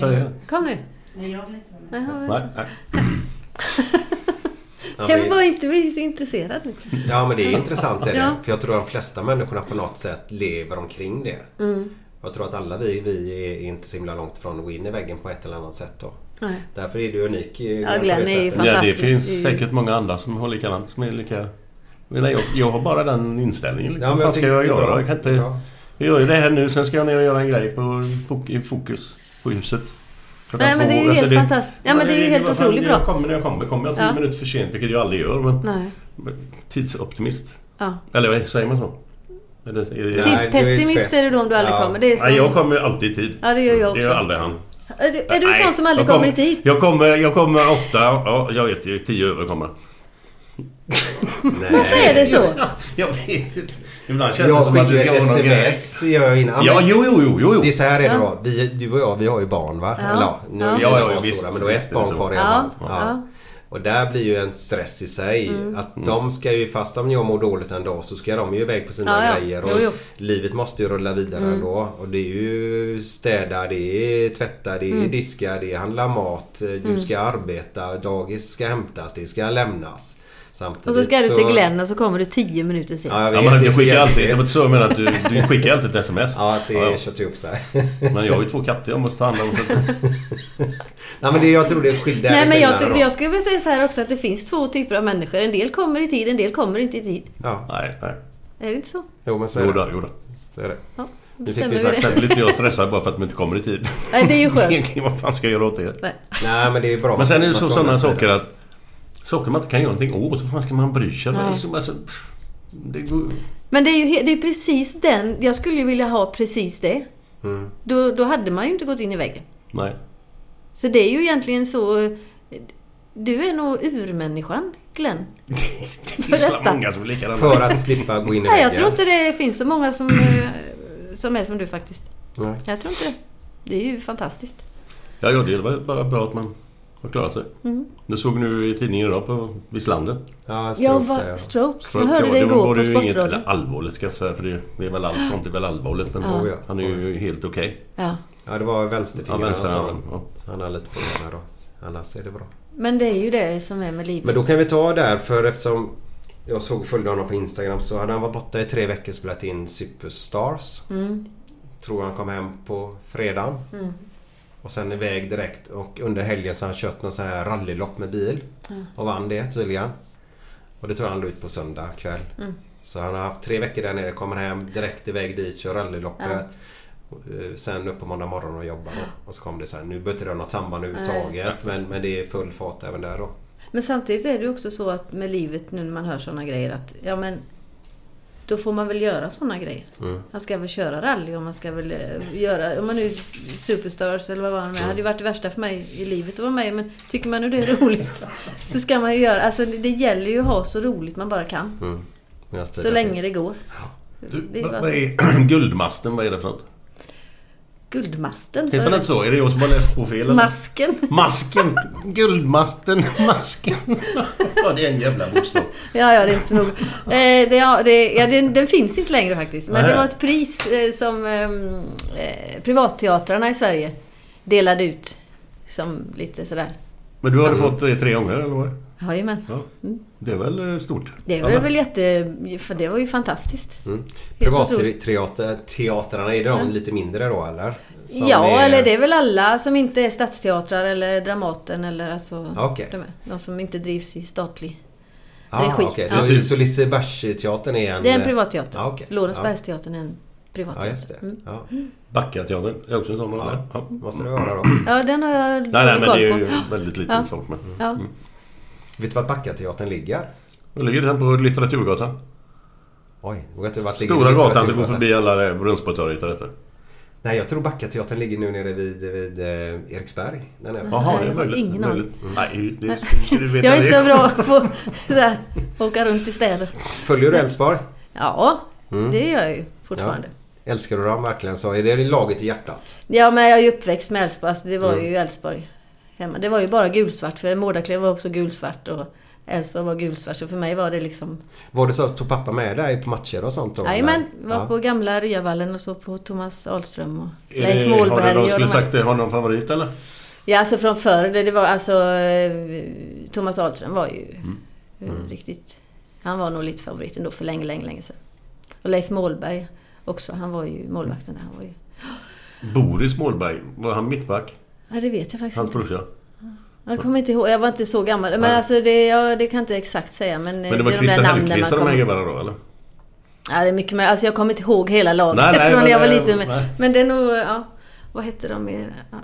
B: säger.
C: Kom nu.
H: Nej, jag vill inte vara med.
C: Nej, jag vet
B: Nej,
C: inte.
B: nej.
C: Jag var inte vi är så intresserad nu.
D: Ja men det är intressant är det.
C: Ja.
D: För jag tror att de flesta människorna på något sätt lever omkring det.
C: Mm.
D: Jag tror att alla vi, vi är inte så himla långt från att gå in i väggen på ett eller annat sätt då.
C: Nej.
D: Därför är du unik eh, i
C: Ja, Glenn är ju
B: Ja, det
C: Fantastiskt. Det är
B: finns
C: ju-
B: säkert många andra som har likadant. Som är lika... Men nej, jag, jag har bara den inställningen. Liksom.
D: Ja, men jag
B: Vad fan ska
D: tycker
B: jag
D: det är bra.
B: göra? Jag kan inte...
D: Ja.
B: Jag gör ju det här nu, sen ska jag ner och göra en grej på, fok- i fokus på huset. Klockan
C: Nej, men det är ju
B: två. Alltså,
C: helt fantastiskt. Ja, men det är ju helt
B: vad fan,
C: otroligt
B: Jag
C: bra.
B: kommer när jag kommer. Kommer jag tio
C: Ja.
B: minuter för sent, vilket jag aldrig gör. Men
C: Nej.
B: tidsoptimist.
C: Ja.
B: Eller vad säger man så? Eller, är det,
D: Tids-
C: Tidspessimist är du då om du aldrig
D: Ja.
C: kommer. Det är som,
B: Nej, jag kommer alltid i tid.
C: Ja, det gör jag
B: Det
C: också.
B: gör aldrig han.
C: Är du, är du en
B: Nej,
C: sån som aldrig
B: jag
C: kommer i tid?
B: Jag kommer, jag kommer åtta, ja jag vet ju, tio över kommer
C: Varför är det så?
B: Jag vet inte. Ibland känns det
D: Jag
B: som att
D: skickar
B: du ska
D: ett
B: ha någon grej.
D: sms gör jag innan.
B: Ja,
D: men-
B: jo, jo, jo, jo, jo.
D: Det är så här är det
C: Ja.
D: då. Vi, du och jag, vi har ju barn va?
C: Ja.
D: Eller ja, nu
C: Ja.
D: är vi
B: Ja,
D: inte
B: ja,
D: barn
B: visst,
D: stora, men då är
B: visst
D: ett
B: är det
D: barn
B: så.
D: kvar
C: Ja,
D: redan.
C: ja.
D: Och där blir ju en stress i sig.
C: Mm.
D: Att de ska ju, fast om jag mår dåligt en dag så ska de ju iväg på sina
C: Ja, ja.
D: grejer. Och
C: Jo, jo. Mm.
D: Livet måste ju rulla vidare ändå. Och det är ju städa, det är tvätta, det är
C: Mm.
D: diska, det är handla mat. Du ska arbeta, dagis ska hämtas, det ska lämnas. Samtidigt
C: Och så ska du till Glenn och så kommer du tio minuter sen.
D: Ja, jag
B: Ja,
D: vet,
B: men
D: det är
B: du skickar alltid... Det
D: jävligt.
B: var inte så jag menar att du, du skickar alltid ett sms.
D: Ja, att det
B: Ja,
D: ja,
B: ja.
D: kört ihop sig.
B: Men jag har ju två katter jag måste ta hand om. så att-
D: Nej men det, jag tror det är skillnad.
C: Nej men jag,
D: skillnaden
C: tycker-
D: då.
C: jag skulle vilja säga så här också att det finns två typer av människor. En del kommer i tid, en del kommer inte i tid.
D: Ja,
B: Nej, nej.
C: Är det inte så?
D: jo men så är
B: Jodå,
D: det.
B: jodå.
D: Så är det.
C: Ja,
D: fick vi
C: bestämmer vi
D: sagt
C: det.
B: Sen blir inte jag stressad bara för att de inte kommer i tid.
C: Nej, det är ju skönt.
B: Vad fan ska jag göra åt det?
C: Nej.
D: Nej men det är bra.
B: Men sen är det
D: Man
B: så
D: ska
B: sådana
D: hålla tiden.
B: saker att... Saker man inte kan göra någonting åt. Vad fan ska man bry sig? Liksom, alltså, pff, det går...
C: Men det är ju he- det är precis den. Jag skulle ju vilja ha precis det.
D: Mm.
C: Då, då hade man ju inte gått in i väggen.
B: Nej.
C: Så det är ju egentligen så... eh, Du är nog urmänniskan, Glenn.
B: Det finns
C: Berätta.
B: många som är likadana.
D: För att slippa gå in i
C: Nej, jag
D: väggen.
C: tror inte det finns så många som, eh, som är som du faktiskt.
D: Nej.
C: Jag tror inte det. Det är ju fantastiskt.
B: Ja, ja, det var bara bra att man har klarat sig.
C: Mm.
B: Det såg nu i tidningen idag på Vislander.
D: Ja, en
C: Jag
D: stroke där,
C: var
D: ja.
C: stroke. Jag
B: Stroke,
C: hörde
B: ja,
C: det
B: var-
C: igår
B: var
C: på
B: ju inget
C: Sportradion.
B: eller allvarligt ska jag säga, för det, det är väl allt sånt är väl allvarligt. Men
D: Oh, ja.
B: han är ju helt okej.
C: Ja.
D: Ja det var vänsterfingrar
B: Ja, vänster
D: han sa.
B: armen, ja.
D: Så han har lite på ena då. Annars är det bra.
C: Men det är ju det som är med livet.
D: Men då kan vi ta där för eftersom jag såg följde honom på Instagram så hade han varit borta i tre veckor och spelat in Superstars. Tror han kom hem på fredagen. Och sen iväg direkt och under helgen så har han kört någon sån här rallylopp med bil. Och vann det tydligen. Och det tror jag han la ut på söndag kväll. Så han har haft tre veckor där nere, kommer hem direkt iväg dit, kör rallyloppet. Eh, Sen upp på måndag morgon och jobbar då. Och så kom det sen. Nu behöver inte det ha något samband överhuvudtaget men, men det är full fart även där då.
C: Men samtidigt är det ju också så att med livet nu när man hör sådana grejer att ja men då får man väl göra sådana grejer. Man ska väl köra rally och man ska väl eh, göra, om man nu superstars eller vad var det med. Det hade ju varit det värsta för mig i livet att vara med men tycker man nu det är roligt så ska man ju göra, alltså det, det gäller ju att ha så roligt man bara kan.
D: Medan
C: Så
D: tiden
C: länge
D: finns.
C: det går.
B: Du,
C: Det är
B: vad-
C: bara
B: vad
C: så.
B: är guldmasten? Vad är det för något?
C: Guldmasten. sa
B: Heter den
C: du.
B: inte så? Är det jag som har läst på fel? eller?
C: Masken.
B: Masken! Guldmasten! Masken! Ja, det är en jävla bokstav.
C: Ja, ja, det är inte så noga. Eh, det, ja, det, ja, den, den finns inte längre faktiskt. Men
B: Nej.
C: det var ett pris eh, som ehm, eh, privatteatrarna i Sverige delade ut. Som lite sådär.
B: Men du hade fått det tre gånger, eller vad?
C: Jajamän.
B: Ja. Det är väl eh, stort?
C: Det var väl jätte... För det var ju fantastiskt.
D: Mm.
C: Helt otroligt.
D: Privatteatrarna, är de lite mindre då eller? Som
C: Ja,
D: är-
C: eller det är väl alla som inte är stadsteatrar eller Dramaten eller alltså...
D: Okej.
C: De, de som inte drivs i statlig
D: ah,
C: regi.
D: okej.
C: Ja.
D: Så,
B: Ja.
D: så Lisebergsteatern är en...
C: Det är en privatteater.
D: Ah, okej.
C: Lorensbergsteatern är en
D: Ja,
C: privatteater.
D: just det. Ja.
B: Backateatern är också en sån. eller? Ja.
D: Måste det vara då.
C: Ja, den har jag
B: Nej, nej, men
C: koll
B: det är
C: på.
B: ju Mm. väldigt liten
C: Ja.
B: sak. Men...
C: Ja.
D: Vet du vart Backateatern ligger?
B: Då ligger den på Litteraturgatan.
D: Oj, jag vet inte vart ligger
B: Stora gatan som går
D: Litteraturgatan?
B: förbi alla det, Brunnsborgstorget och detta.
D: Nej, jag tror Backateatern ligger nu nere vid, vid eh, Eriksberg. Den är
B: Jaha,
C: Nej,
B: det är
C: jag har
B: möjligt.
C: ingen aning.
B: möjligt. Nej, det ska du veta
C: Jag är inte så
B: det.
C: bra på att åka runt i städer.
D: Följer du Elfsborg?
C: Ja,
B: Mm.
C: det gör jag ju
D: Ja.
C: fortfarande. Ja.
D: Älskar du dem verkligen så? Är det laget i hjärtat?
C: men jag är ju uppväxt med Älvsborg. Alltså, det var
B: Mm.
C: ju Älvsborg hemma. Det var ju bara gulsvart. För Mårdaklev var också gulsvart och Älvsborg var gulsvart. Så för mig var det liksom...
D: Var det så att tog pappa med dig på matcher och sånt då?
C: Jajamän,
D: eller?
C: var
D: Ja.
C: på gamla Ryavallen och så på Thomas Ahlström och
B: Är
C: Leif
B: det- Har
C: Målberg.
B: du någon,
C: och de
B: skulle
C: här.
B: sagt det, har du någon favorit eller?
C: Ja, alltså från förr. Det, det var alltså... eh, Thomas Ahlström var ju
B: Mm.
C: eh, riktigt... Han var nog lite favoriten då för länge, länge, länge sedan. Och Leif Målberg också. Han var ju målvakten där. Han var ju...
B: Boris Målberg, var han mittback?
C: Ja, det vet jag faktiskt
B: Hans
C: inte.
B: brorsa.
C: Jag kommer inte ihåg. Jag var inte så gammal. Men
B: Nej.
C: alltså det, jag, det kan jag inte exakt säga. Men, eh,
B: Men det var
C: är där
B: Christer
C: namnen
B: Hellqvist och de
C: man
B: här
C: kommer-
B: gubbarna då eller?
C: Ja, det är mycket mer. Alltså jag kommer inte ihåg hela laget
B: Nej, nej,
C: från
B: men
C: när jag var
B: det-
C: liten. Men,
B: nej.
C: men det är nog... Ja, vad hette de mer? Ja,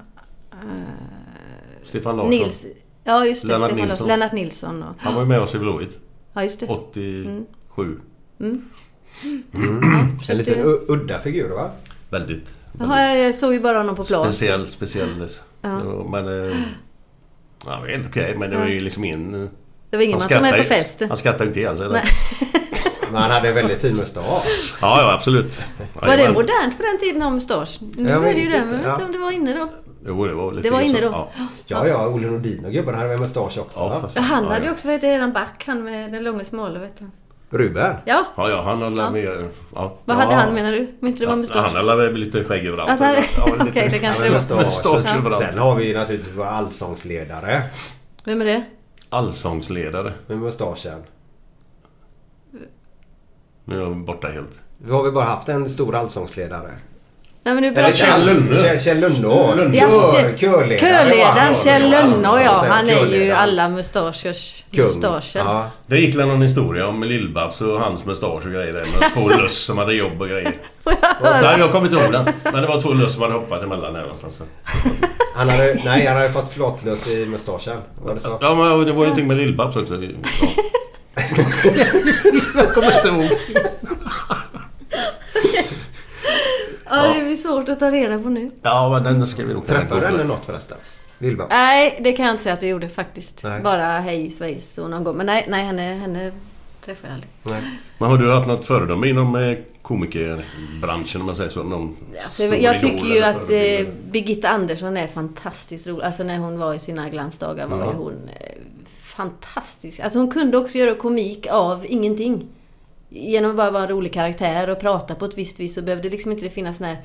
B: Stefan Larsson.
C: Nils... Ja, just det.
B: Lennart
C: Stefan
B: Nilsson.
C: Nilsson. Lennart Nilsson. Och,
B: Han var ju med oss i Blåvitt.
C: ja, just det.
B: 87.
D: En liten
C: det-
D: u- udda figur va?
B: Väldigt.
C: Jaha, jag, jag såg ju bara honom på plan.
B: Speciell, speciell. Men... eh, Ja, helt okej. Men det var ju Alltså- liksom in...
C: Det var ingen man tog med på fest.
B: Han skrattade inte ihjäl sig. eller?
C: Nej.
D: Men han hade en väldigt fin mustasch.
B: Ja, ja absolut.
C: Var det
B: Jajamän.
C: modernt på den tiden att ha mustasch? Nu
D: Jag
C: är
D: vet
C: det ju det,
D: inte,
C: men jag vet
D: ja.
C: inte om det var inne då.
B: Jo, det var lite
C: Det var inne
B: så.
C: då.
B: Ja.
D: Ja, ja. Olle Nordin och gubbarna hade väl mustasch också?
B: Ja,
D: va?
B: för
C: Ja,
B: fan.
C: Han
B: Ja,
C: hade ju
B: ja.
C: också, vad heter det, den back, han med den långa smala vet du.
D: Ruben?
C: Ja,
B: Ja, ja, han hade ja. mer... Ja.
C: vad
B: ja.
C: hade han menar du? Men inte det var
B: Ja, Han
C: mustasch?
B: hade väl lite skägg överallt.
C: Alltså,
B: Ja, lite-
C: okej, det kanske det
D: Men
C: var.
D: mustasch.
B: Mustasch
D: Sen-
B: överallt.
D: Sen har vi ju naturligtvis vår allsångsledare
C: Vem är det?
B: Allsångsledare.
D: med mustaschen.
B: Nu är jag borta helt.
D: Vi har väl bara haft en stor allsångsledare.
C: Nej men nu
D: Eller
C: pratar
D: Kjell
C: vi.
D: Lönnå. Kjell- Kjell Lönnå.
C: Ja,
D: Kör,
C: Kjell-
D: körledare. va?
C: Körledaren Kjell Lönnå ja,
D: Allsångsledare,
C: han är ju
D: körledare.
C: alla mustaschers
D: Kung.
C: mustascher.
D: Ja.
B: Det gick väl någon historia om Lill-Babs och hans mustasch och grejer där med
C: Alltså.
B: två löss som hade jobb och grejer. Nej, jag kommer inte ihåg den. Men det var två löss som hade hoppat emellan där någonstans.
D: Han hade, nej, han hade fått flatlös i mustaschen. Var det så?
B: Ja, men det var ju någonting med Lill-Babs också. Ja. jag kommer inte ihåg.
C: Ja, det blir svårt att ta reda på nu.
B: Ja, men den ska vi nog kunna
D: Träffade du
B: googla.
D: henne något förresten? Lill-Babs?
C: Nej, det kan jag inte säga att jag gjorde faktiskt.
D: Nej.
C: Bara hej svejs och någon gång. Men nej, nej henne, henne träffade jag aldrig.
D: Nej.
B: Men har du haft något föredöme inom eh, komikerbranschen om man säger så? Någon
C: Alltså,
B: stor
C: jag
B: idol
C: tycker ju
B: eller
C: att eh,
B: förebild?
C: Birgitta Andersson är fantastiskt rolig. Alltså när hon var i sina glansdagar var ju hon eh, fantastisk. Alltså hon kunde också göra komik av ingenting. Genom att bara vara en rolig karaktär och prata på ett visst vis så behövde liksom inte det finnas några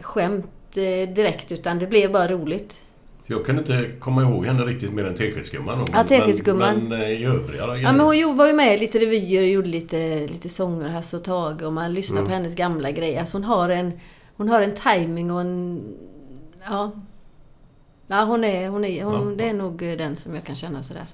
C: skämt eh, direkt utan det blev bara roligt.
B: Jag kan inte komma ihåg henne riktigt mer än Teskedsgumman.
C: Ja, Teskedsgumman.
B: Men, men eh, i övriga grejer.
C: Ja, men hon jo- var ju med i lite revyer och gjorde lite, lite sånger, Hasse och Tage och man lyssnar
D: Mm.
C: på hennes gamla grejer. Alltså hon har en, hon har en timing och en... Ja. Ja, hon är, hon är, hon, det är nog den som jag kan känna sådär.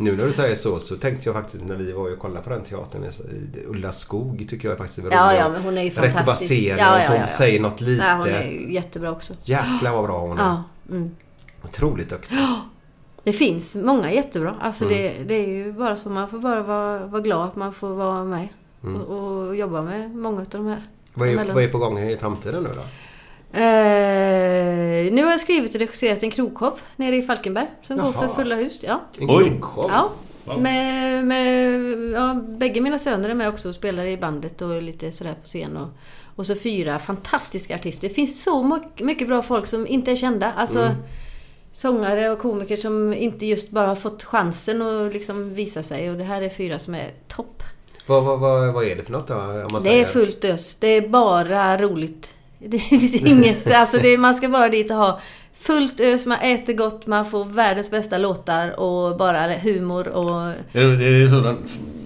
D: Nu när du säger så så tänkte jag faktiskt när vi var och kollade på den teatern i- i Ulla Skog tycker jag faktiskt är
C: Ja, ja, men hon är ju
D: Rätt
C: fantastisk.
D: baserad
C: Ja, ja,
D: som
C: ja, ja.
D: säger något litet.
C: Ja, hon är ju jättebra också.
D: Jäklar vad bra hon är.
C: Ja, mm.
D: Otroligt duktig.
C: Det finns många jättebra. Alltså
D: Mm.
C: det, det är ju bara så. Man får bara vara, vara glad att man får vara med. Och, och jobba med många av de här.
D: Mm. Vad är,
C: emellan.
D: vad är på gång i framtiden nu då?
C: Eh, nu har jag skrivit och regisserat en krogshow nere i Falkenberg som går
D: Jaha.
C: för fulla hus. Ja.
D: En
B: Oj.
D: krogshow?
C: ja. Med, med, ja, bägge mina söner är med också och spelar i bandet och lite sådär på scen. Och, och så fyra fantastiska artister. Det finns så mo- mycket bra folk som inte är kända. Alltså
D: Mm.
C: sångare och komiker som inte just bara har fått chansen att liksom visa sig. Och det här är fyra som är topp.
D: Vad, vad, vad, vad är det för något då? Om man
C: Det är
D: säger?
C: fullt ös. Det är bara roligt. Det finns inget. Alltså det, man ska bara dit och ha fullt ös. Man äter gott, man får världens bästa låtar och bara humor och...
B: Är det- är det sådant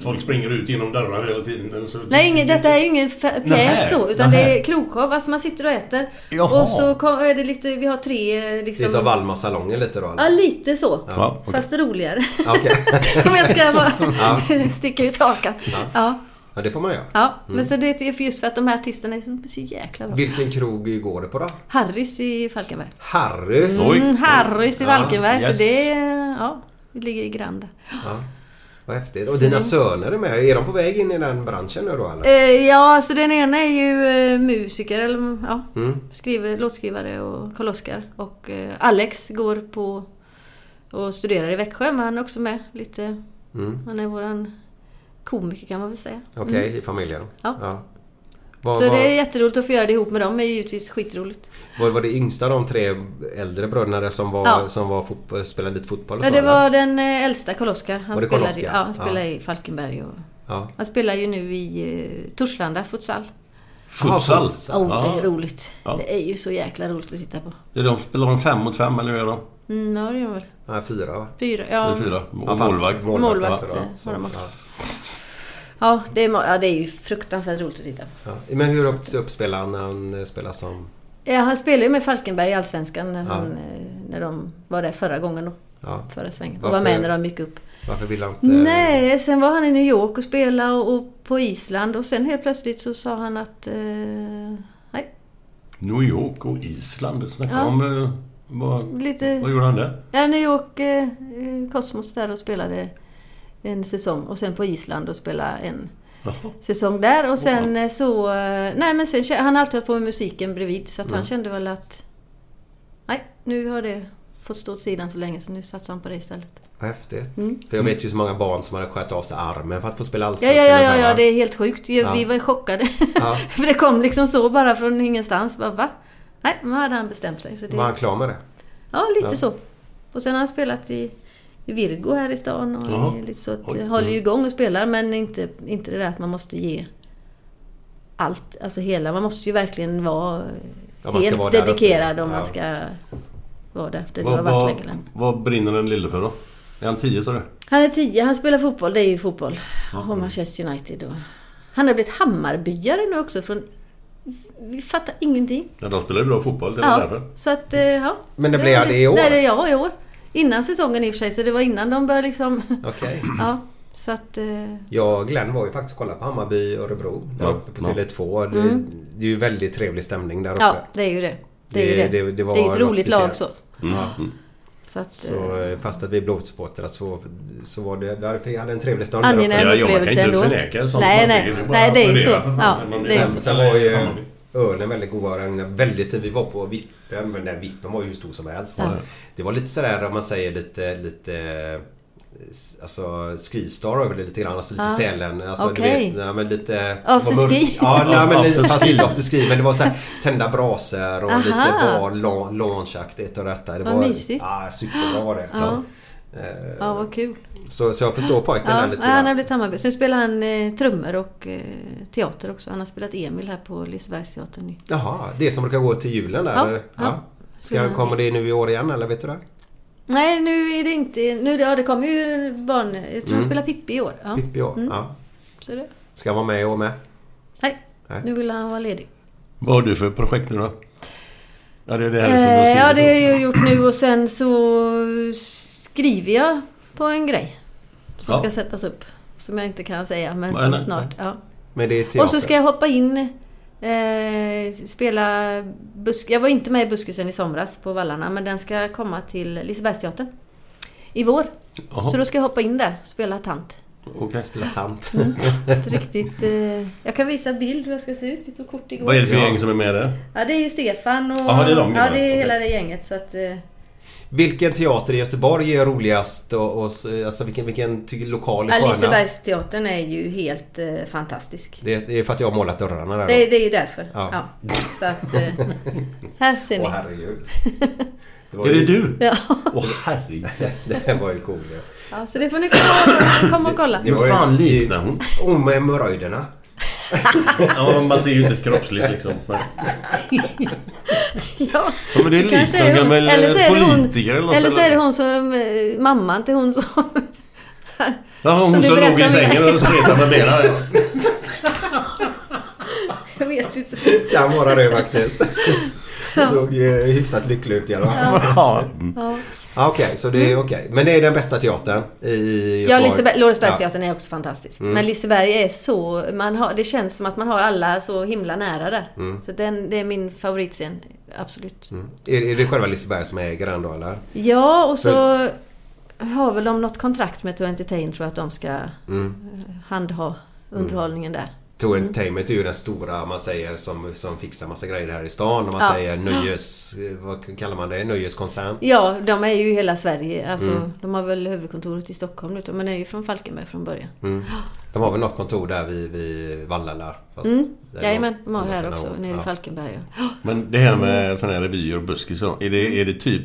B: folk springer ut genom dörrar hela tiden? Eller så?
C: Nej, ingen, detta är ju ingen fe- pjäs
B: Nähä,
C: så. Utan
B: nähä.
C: det är krogshow. Alltså man sitter och äter.
B: Jaha.
C: Och så kom, är det lite... Vi har tre eh,
D: Det är
C: liksom...
D: som Valmas salonger lite då? eller?
C: Ja, lite så.
B: Ja, okej.
C: Fast roligare.
D: Ja, okej.
C: Om jag ska bara sticka ut hakan. Ja.
D: ja, det får man göra.
C: Ja,
B: Mm.
C: men så det är just för att de här artisterna är så, så jäkla bra.
D: Vilken krog går det på då?
C: Harrys i Falkenberg.
D: Harrys?
C: Mm, Harrys i Valkenberg,
B: yes.
C: så det ja, det ligger i Granda.
D: Vad häftigt. Och
C: Mm.
D: dina söner är med. Är de på väg in i den branschen nu då eller?
C: Eh, ja, alltså den ena är ju eh, musiker, eller ja, skriver, låtskrivare och Karl-Oskar. Och eh, Alex går på och studerar i Växjö, men han är också med lite. Han är våran komiker kan man väl säga. Mm.
D: Okej, i familjen?
C: Ja.
D: Vad,
C: Så
D: vad,
C: det är jätteroligt att få göra det ihop med dem, det är givetvis skitroligt.
D: vad var det yngsta av de tre äldre bröderna som, var,
C: Ja.
D: som var fotbo- spelade lite fotboll och
C: Ja,
D: så?
C: det
D: eller?
C: var den eh, äldsta Karl-Oskar. Han
D: Var det
C: spelade,
D: Karl-Oskar?
C: ja, han
D: Ja.
C: spelade i Falkenberg och
D: Ja.
C: han spelar ju nu i eh, Torslanda futsal.
B: Futsal?
C: Åh, det är
B: ja.
C: roligt.
B: Ja.
C: Det är ju så jäkla roligt att titta på.
B: Är de, spelar de fem mot fem eller hur är de?
C: Mm, ja, det gör de väl.
D: Nej, fyra va?
C: Fyra.
B: Eller
C: Ja,
B: fyra?
D: Ja,
B: Och
D: fast-
B: målvakt?
C: Målvakt,
D: också då.
C: eh,
D: Så,
C: har de också.
D: ja.
C: ja, det är, ma- ja, det är ju fruktansvärt roligt att titta på.
D: Ja. Men hur högt upp spelar han när han eh, spelar som...
C: Ja, han spelade ju med Falkenberg i Allsvenskan när, han, eh, när de var där förra gången då.
D: Ja.
C: Förra svängen. Och
D: Varför-
C: var med när de gick upp.
D: Varför vill han inte...
C: Nej, sen var han i New York och spelade och, och på Island och sen helt plötsligt så sa han att... Eh, nej,
B: New York och Island. Snacka
C: Ja.
B: om... eh, Vad,
C: lite...
B: vad gjorde han där?
C: Ja, New York eh, eh, Cosmos där och spelade en säsong och sen på Island och spelade en säsong där och sen eh, så... eh, Nej men sen, kä- han har alltid hållit på med musiken bredvid så att han kände väl att... Nej, nu har det fått stå åt sidan så länge så nu satsar han på det istället.
D: Häftigt.
C: Mm.
D: För jag vet ju så många barn som hade skött av sig armen för att få spela
C: Ja,
D: Allsvenskan.
C: ja, ja, ja,
D: ibland,
C: ja,
D: va?
C: det är helt sjukt. Ju-
D: Ja.
C: Vi var ju chockade.
D: Ja.
C: För det kom liksom så bara från ingenstans. Bara, va? Nej, men hade han bestämt sig. Så det...
D: Var han klar med det?
C: Ja, lite
D: Ja.
C: så. Och sen har han spelat i i Virgo här i stan och
D: Jaha.
C: lite så att,
D: Oj.
C: håller ju
D: Mm.
C: igång och spelar men inte, inte det där att man måste ge allt, alltså hela. Man måste ju verkligen vara
B: Ja, man ska
C: helt
B: vara där uppe.
C: dedikerad om
B: Ja.
C: man ska vara där. Det har
B: Vad,
C: varit
B: vad,
C: länge. länge.
B: vad brinner den lille för då? Är han 10 sa du?
C: Han är 10, han spelar fotboll, det är ju fotboll.
B: Ja.
C: Och Manchester United och... Han har blivit Hammarbyare nu också från... Vi fattar ingenting.
B: Ja, de spelar ju bra fotboll. Det var
C: Ja,
B: därför.
C: så att, eh, ja.
B: Men det blev aldrig i år?
C: Nej, det ja, i år. Innan säsongen i och för sig, så det var innan de började liksom...
D: Okej.
C: Ja, så att... eh,
D: Jag och Glenn var ju faktiskt och kollade på Hammarby Örebro. Där
B: Ja,
D: uppe på
B: ja.
D: Tele2. Det,
C: Mm.
D: det är ju väldigt trevlig stämning där uppe.
C: Ja, det är ju det. Det är ju det.
D: Det, det, var
C: är ju ett
D: något
C: roligt lag så.
D: speciellt.
C: Ja.
D: Ja.
C: Så att,
D: Så, eh, fast att vi är Blåvittsupportrar så, så var det... Vi hade en trevlig stund där uppe.
C: Angenäm upplevelse ändå. nej, nej. nej, det är ju så. Ja, det är ju
D: sen,
C: så.
D: sen var ju ölen väldigt goda. Den väldigt fin. Vi var på vippen. Men den vippen var ju hur stor som helst.
C: Ja.
D: Det var lite sådär om man säger lite... lite eh, s- Alltså skistar över det lite grann. Alltså lite
C: Ja.
D: Sälen. Alltså,
C: Okej.
D: du vet, nej, men lite...
C: Afterski.
D: det var mörk- Ja, nej, men lite,
B: Afterski.
D: fast lite afterski. Men det var såhär tända brasor och lite
C: Aha.
D: bar, la- loungeaktigt och detta. Det
C: Vad
D: var
C: mysigt.
D: Ja, superbra var det.
C: Ja.
D: Eh,
C: Ja, vad kul.
D: Så, så jag förstår pojken
C: Ja,
D: där lite
C: ja, han har
D: grann.
C: blivit Hammarby. Sen spelar han eh, trummor och eh, teater också. Han har spelat Emil här på Lisebergsteatern nu.
D: Jaha, det som brukar gå till julen där?
C: Ja,
D: eller?
C: ja.
D: Ska, kommer det nu i år igen eller vet du det?
C: Nej, nu är det inte... Nu, ja, det kommer ju barn... Jag tror han
D: Mm.
C: spelar Pippi i år. Ja.
D: Pippi i år?
C: Mm.
D: Ja.
C: Så det,
D: Ska han vara med i år med?
C: nej, nu vill han vara ledig.
B: Vad har du för projekt nu då? Ja, det är det här som du
C: Eh,
B: har
C: ja, det
B: skrivit.
C: har jag ju gjort nu och sen så skriver jag på en grej. Som
D: Ja.
C: ska sättas upp. Som jag inte kan säga, men
D: Nej,
C: som
D: nej,
C: snart. Ja.
D: Men det är teater.
C: Och så ska jag hoppa in... Eh, spela busk... Jag var inte med i Buskisen i somras på Vallarna, men den ska komma till Lisebergsteatern. I vår.
D: Jaha.
C: Så då ska jag hoppa in där och spela tant.
D: Okej. Spela tant.
C: Ett riktigt... Eh, jag kan visa bild hur jag ska se ut. Vi tog kort igår.
B: Vad är det för gäng som är med där?
C: Ja, det är ju Stefan och...
B: Jaha, det är de
C: Ja, det
B: Okej.
C: är hela det gänget. Så att, eh,
D: Vilken teater i Göteborg är roligast och, och s- alltså vilken, vilken ty- lokal är
C: Ja,
D: skönast?
C: Lisebergsteatern är ju helt eh, fantastisk.
D: Det är, det är för att jag har målat dörrarna där.
C: Det,
D: då.
C: det är ju därför.
D: Ja.
C: Ja. Så att, eh, här ser ni.
D: Åh herregud. var
B: Är
D: ju-
B: det du?
C: Ja.
B: Åh herregud.
D: det här var ju cool. ja.
C: Ja, så det får ni komma, komma och kolla.
D: Det var ju-
B: fan liknar hon?
D: Och med hemorrojderna.
B: Ja, man ser ju inte kroppsligt liksom. Men...
C: Ja,
B: Ja, men det är likt
C: kanske
B: någon
C: hon.
B: gammal, eh,
C: Eller så är det hon-
B: politiker eller något,
C: Eller så är det
B: eller?
C: hon som... eh, Mamman till hon som...
B: Ja, hon
C: Som du
B: som låg
C: berättade
B: i
C: om
B: sängen
C: innan.
B: och spretade med benen.
C: Jag vet inte.
D: Kan vara det faktiskt. Det såg eh, hyfsat lycklig ut i alla fall.
B: Ja.
C: Ja. Mm.
D: Ja, Okej, så det är okej. Men det är den bästa teatern i Göteborg?
C: Ja, Liseberg, Lorensbergsteatern är också fantastisk.
D: Mm.
C: Men Liseberg är så... Man har, det känns som att man har alla så himla nära där.
D: Mm.
C: Så den, det är min favoritscen. Absolut.
D: Mm. Är, är det själva Liseberg som är ägaren då eller?
C: Ja, och så
D: För-
C: har väl de något kontrakt med To Entertain tror jag att de ska
D: Mm.
C: handha underhållningen där.
D: Two Entertainment är ju den stora man säger som, som fixar massa grejer här i stan. Och man
C: Ja.
D: säger nöjes... eh, Vad kallar man det? Nöjeskoncern?
C: Ja, de är ju i hela Sverige. Alltså,
D: Mm.
C: De har väl huvudkontoret i Stockholm nu, men är ju från Falkenberg från början.
D: Mm. De har väl något kontor där vid, vid Vallala? fast-
C: Mm.
D: där
C: Jajamän,
D: de-
C: de har
D: andra
C: här
D: sidan
C: också,
D: året.
C: nere i
D: Ja.
C: Falkenberg. Ja.
B: Men det här med sådana här revyer och buskis och- är det, är det typ...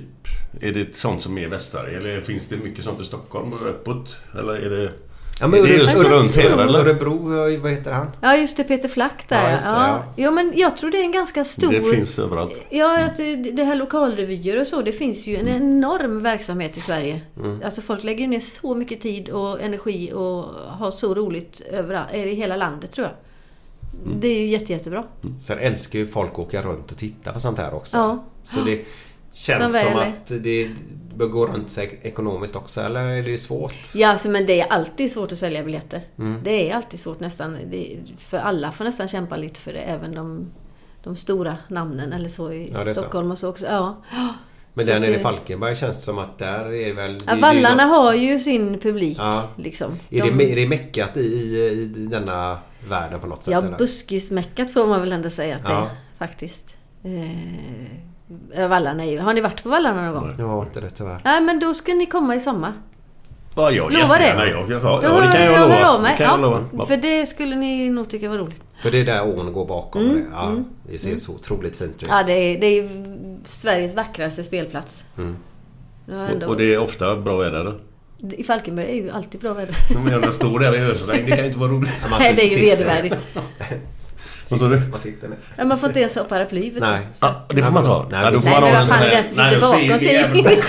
B: Är det sånt som är Västsverige eller finns det mycket sånt i Stockholm och uppåt? Eller är det...
D: Ja, men
B: är det alltså,
D: Örebro-
B: just runt här
D: Örebro,
B: eller?
D: Örebro, eh, vad heter han?
C: ja, just det, Peter Flack där.
D: Ja,
C: Ja,
D: just det, ja.
C: Jo, men jag tror det är en ganska stor...
B: Det finns överallt.
C: Ja, att det- det här lokalrevyer och så, det finns ju en
D: Mm.
C: enorm verksamhet i Sverige.
B: Mm.
C: Alltså folk lägger ju ner så mycket tid och energi och har så roligt överallt, eller i hela landet tror jag.
D: Mm.
C: Det är ju jätte, jättebra.
D: Sen älskar ju folk att åka runt och titta på sånt här också.
C: Ja.
D: Så det
C: Som
D: känns som,
C: väl är.
D: att det bör gå runt sig ekonomiskt också eller är det svårt?
C: Ja, alltså, men det är alltid svårt att sälja biljetter.
D: Mm.
C: Det är alltid svårt nästan. Det, för alla får nästan kämpa lite för det. Även de, de stora namnen eller så i
D: Ja, det är så.
C: Stockholm och så också. Ja.
D: Men
C: Så
D: där
C: att
D: nere i
C: det-
D: Falkenberg känns det som att där är väl...
C: Ja,
D: det- det
C: vallarna
D: är något-
C: har ju sin publik.
D: Ja.
C: Liksom.
D: Är,
C: De-
D: det, är det meckat i, i, i denna världen på något sätt?
C: Ja,
D: eller?
C: buskismäckat får man väl ändå säga att det
D: Ja.
C: är. Faktiskt. Eh, eh, Vallarna är ju... Har ni varit på Vallarna någon gång?
D: Jag har inte det tyvärr.
C: Nej, men då ska ni komma i sommar.
B: Ja, jag
C: Lova det.
B: jättegärna. Jag, jag, ja,
C: Då
B: det kan jag,
C: hör
B: lova.
C: av mig.
B: Det kan jag
C: ja,
B: lova.
C: För det skulle ni nog tycka var roligt.
D: För det är där ån går bakom.
C: Mm,
D: det. Ja,
C: mm,
D: det ser
C: mm.
D: så otroligt fint ut.
C: Ja, det är, det är ju Sveriges vackraste spelplats.
B: Mm.
C: Det har
B: Och,
C: ändå,
B: och det är ofta bra väder. då.
C: I Falkenberg är ju alltid bra väder.
B: Ja, Men jag står där i ösregn, det kan ju inte vara roligt.
C: Nej, det är ju vedervärdigt.
B: Vad sa du?
D: Vad sitter ni?
C: Ja, Man får inte ens ha paraply. vet
D: Nej.
C: du.
B: Ah, det får man inte ha.
D: Nej,
B: Ja, då får
C: Nej,
B: man
C: men
B: ha
C: vad
B: en
C: fan,
B: sån
C: den
B: där...
C: som
B: Nej,
C: sitter
B: jag ser
C: bakom säger
B: jävligt-
C: ingenting.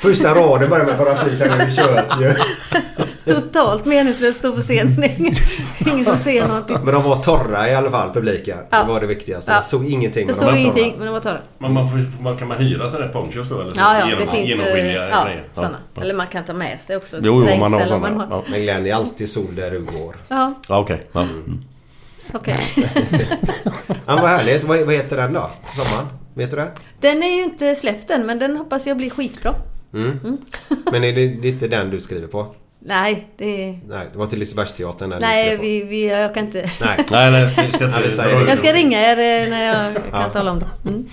D: Första raden börjar med paraply, sen är det kört ju.
C: Totalt meningslöst att stå på scenen. Det är ingen- Ingen som ser någonting.
D: Men de var torra i alla fall, publiken.
C: Ja.
D: Det var det viktigaste.
C: Ja.
D: Jag såg ingenting.
C: Det
D: men de var
C: stod ingenting,
D: torra.
C: men de var torra.
B: Men man får, får man, kan man hyra sådana där ponchos då? Eller så?
C: Ja, ja,
B: Genom-
C: det finns ju...
B: Genomskinliga
C: Ja,
B: grejer.
C: sådana. Eller man kan ta med sig också.
B: Jo, jo, man har
C: Regnställ om
B: sådana.
C: man har.
B: Ja,
D: Men Glenn, det är alltid sol där du går.
C: Ja,
B: ja okej. Ja. Mm.
C: okej.
D: Ja, vad härligt. Vad, vad heter den då? Till sommaren? Vet du det?
C: Den är ju inte släppt än, men den hoppas jag blir skitbra.
D: Mm. Men är det, det är inte den du skriver på?
C: Nej, det är...
D: Nej, det var till Lisebergsteatern den du
C: Nej,
D: skrev på.
C: vi, vi, jag kan inte...
D: Nej.
B: Nej, nej. Vi ska
D: Ja,
B: inte
D: det säger
B: dra
D: jag.
B: ut
C: Jag ska
B: det.
C: ringa er eh, när jag kan
D: Ja.
C: tala om det. Mm.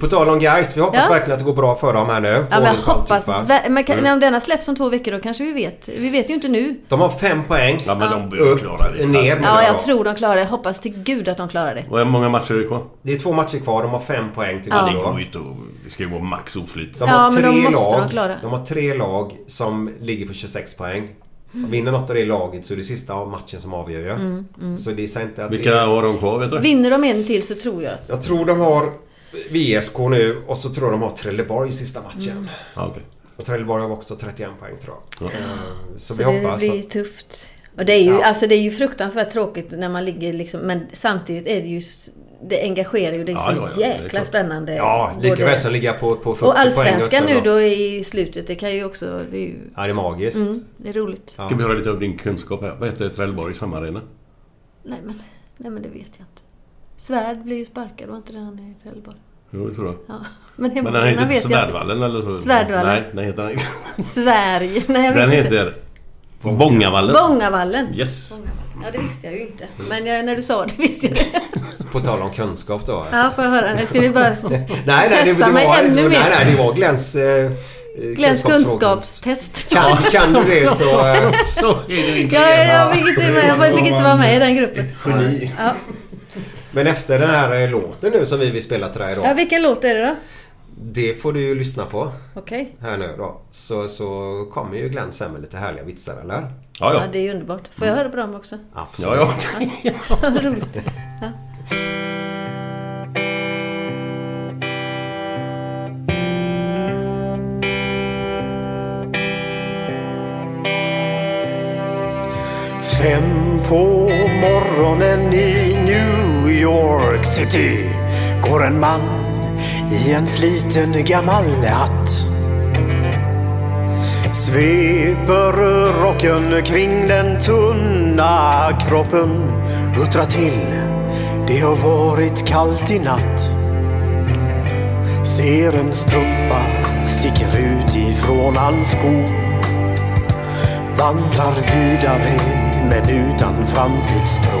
D: På tal om guys, vi hoppas
C: Ja.
D: verkligen att det går bra för dem här nu. Få
C: Ja, men jag
D: ordning på
C: hoppas...
D: alltihopa.
C: ver- Men
D: Mm.
C: kan, när om denna släpps om två veckor då kanske vi vet. Vi vet ju inte nu.
D: De har fem poäng.
B: Ja, men de bör
D: Upp,
B: klara det.
D: ner.
C: Ja,
D: Ja.
C: jag tror de klarar det. Jag hoppas till gud att de klarar det.
B: Och hur många matcher är det kvar?
D: Det är två matcher kvar, de har fem poäng till
B: Det
D: varje
B: går
D: lag.
B: ju inte att... Det ska ju vara max oflyt.
D: De
C: Ja,
D: har
C: men
D: tre
C: de måste de
D: lag.
C: klara.
D: har tre lag som ligger på 26 poäng.
C: Mm.
D: Vinner något av det laget så är det sista av matchen som avgör ju.
C: mm.
D: Så det säger inte att det
B: Vilka
D: är...
B: har de kvar, vet du?
C: Vinner de en till så tror jag att...
D: Jag tror de har VSK nu och så tror jag de har Trelleborg i sista matchen.
C: Mm.
B: Ja, okej.
D: Och Trelleborg har också 31 poäng tror jag. Eh,
C: Så
D: Så, vi
C: det
D: hoppas
C: blir
D: att...
C: tufft. Och det är, ju,
D: Ja.
C: alltså, det är ju fruktansvärt tråkigt när man ligger liksom... Men samtidigt är det ju... s- Det engagerar ju. Det är
B: Ja,
C: så
B: ja, ja, det är
C: jäkla
B: klart.
C: spännande.
D: Ja, lika
C: Både-
D: väl som ligga på, på 40
C: Och
D: poäng
C: allsvenskan
D: upp
C: nu
D: eller
C: då
D: något.
C: i slutet. Det kan ju också... Det är ju...
D: Ja, det är magiskt.
C: Mm, det är roligt.
D: Ja.
B: Ska vi höra lite av din kunskap här? Vad heter Trelleborgs hammarena?
C: Nej men, nej men det vet jag inte. Svärd blir ju sparkad, var inte det han i Trelleborg?
B: Jo, det tror jag.
C: Ja. Men,
B: Men den heter
C: hemmaplanerna
B: inte
C: vet jag inte.
B: Svärdvallen eller så?
C: Svärdvallen.
B: Nej, den heter den inte.
C: Sverige, nej jag
B: Den
C: vet inte.
B: heter... Bångavallen.
C: Bångavallen.
B: Yes.
C: Ja det visste jag ju inte. Men jag, när du sa det visste jag det.
D: På tal om kunskap då.
C: Mm. Ja får jag höra. Jag skulle ju bara s-
D: Nej, nej, det, det
C: testa mig
D: var,
C: ännu
D: nej,
C: mer.
D: nej, det var Glens... Eh, eh,
C: Glens
D: kunskapsfrågor.
C: kunskapstest.
D: Kan, kan du det så... Eh,
B: Så är det inte.
C: Ja, jag, jag, fick inte, jag fick inte vara med i den gruppen.
B: Geni.
C: Ja.
D: men efter den här eh, låten nu som vi vill spela till dig
C: ja,
D: idag.
C: vilken låt är det då?
D: Det får du ju lyssna på
C: Okej.
D: här nu då. Så, så kommer ju Glenn sen med lite härliga vitsar eller?
C: Ja,
B: Ja, ja.
C: det är ju underbart. Får jag höra på dem också?
D: Absolut.
B: Ja, ja.
C: Vad roligt.
A: Fem på morgonen i New York City går en man i en sliten gammal hatt. Sveper rocken kring den tunna kroppen, huttrar till. Det har varit kallt i natt. Ser en strumpa sticker ut ifrån hans sko vandrar vidare men utan framtidstro.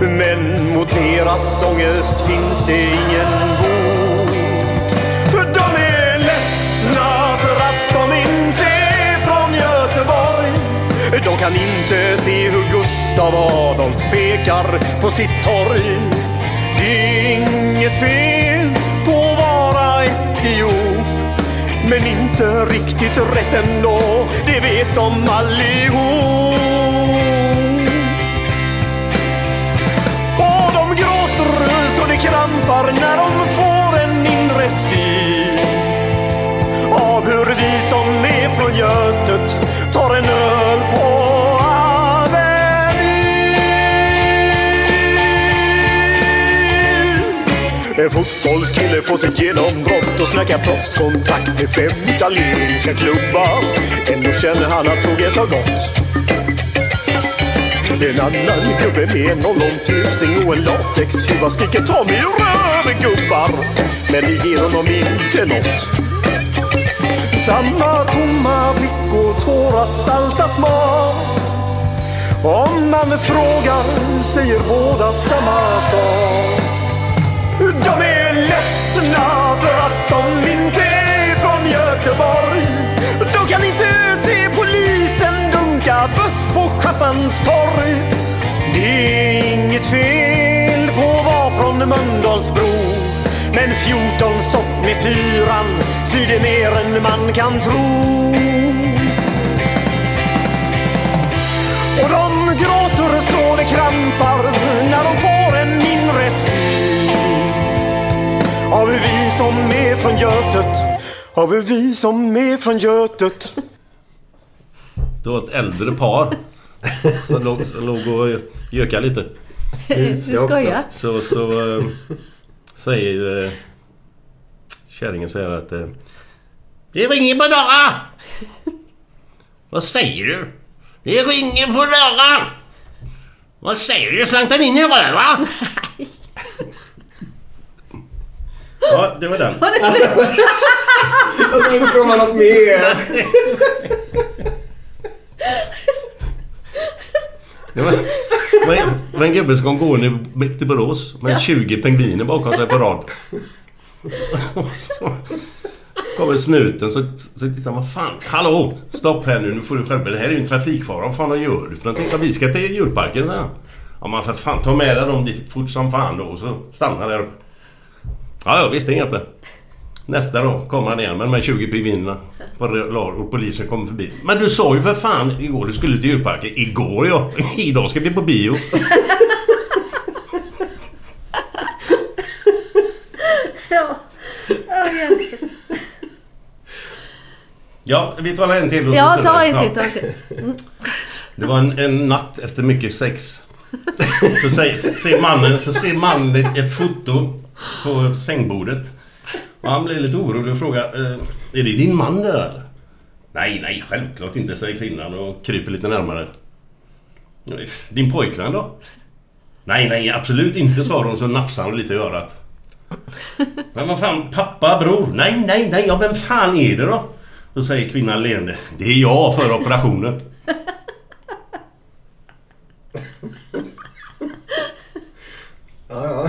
A: Men mot deras ångest finns det ingen bot. För de är ledsna för att de inte är från Göteborg. De kan inte se hur Gustav Adolf pekar på sitt torg. Det är inget fel på att vara idiot. Men inte riktigt rätt ändå, det vet de allihop. Och de gråter så det krampar när de får en inre syn av hur vi som är från Götet tar en öl på Avenyn. Få
I: fotbollskille får sitt genombrott och snackar proffskontakt med fem italienska klubbar. Ändå känner han att tåget har gått. En annan gubbe med en ollontusing och en latextjuva skriker ta mig i röven gubbar. Men det ger honom inte något.
A: Samma tomma blick och tårar salta smak. Om man frågar säger båda samma sak. De är ledsna för att de inte är från Göteborg. De kan inte se polisen dunka buss på Schappans torg. Det är inget fel på att vara från Mölndalsbro. Men 14 stopp med fyran svider mer än man kan tro. Och de gråter så det krampar när de får en inre syn Av hur vi som är från Götet, av hur vi som är från Götet
B: Det var ett äldre par som låg, som låg och gökade lite.
C: Du skojar?
B: Så, så eh, säger eh, kärringen säger att... eh, Det ringer på dörren! Vad säger du? Det ringer på dörren! Vad säger du? Slank den in i röven? Ja, det var den.
D: Jag trodde det skulle komma något mer.
B: Det var, det var en- det var en gubbe som kom gående mitt i Borås med 20 pingviner bakom sig på rad. Och så kommer snuten så, så tittar han, vad fan, hallå! Stopp här nu, nu får du skärpa dig. Det här är ju en trafikfara. Vad fan gör du för någonting? "Ja, Vi ska till djurparken, säger han. Ja men för fan, ta med dig dem dit fort som fan då. Och så stannar han där uppe. Ja, ja visst, inga problem. Nästa dag kommer han igen med de här 20 pingvinerna. på rad Och polisen kommer förbi. Men du sa ju för fan igår du skulle till djurparken. Igår ja. Idag ska vi på bio.
C: Ja. Ja, egentligen.
B: Ja, vi tar en till. och så
C: Ja,
B: tar
C: ta
B: vi-
C: en
B: ja.
C: till. Ta en till. Mm.
B: Det var en, en natt efter mycket sex. Så säger, ser, mannen, så ser mannen ett, ett foto på sängbordet. Och han blir lite orolig och frågar eh, Är det din man där eller? Nej, nej, självklart inte, säger kvinnan och kryper lite närmare. Din pojkvän då? Nej, nej, absolut inte, svarar hon så nafsar hon lite i örat. Men vad fan, pappa, bror? Nej, nej, nej, ja vem fan är det då? Då säger kvinnan leende. Det är jag före operationen.
D: Ja,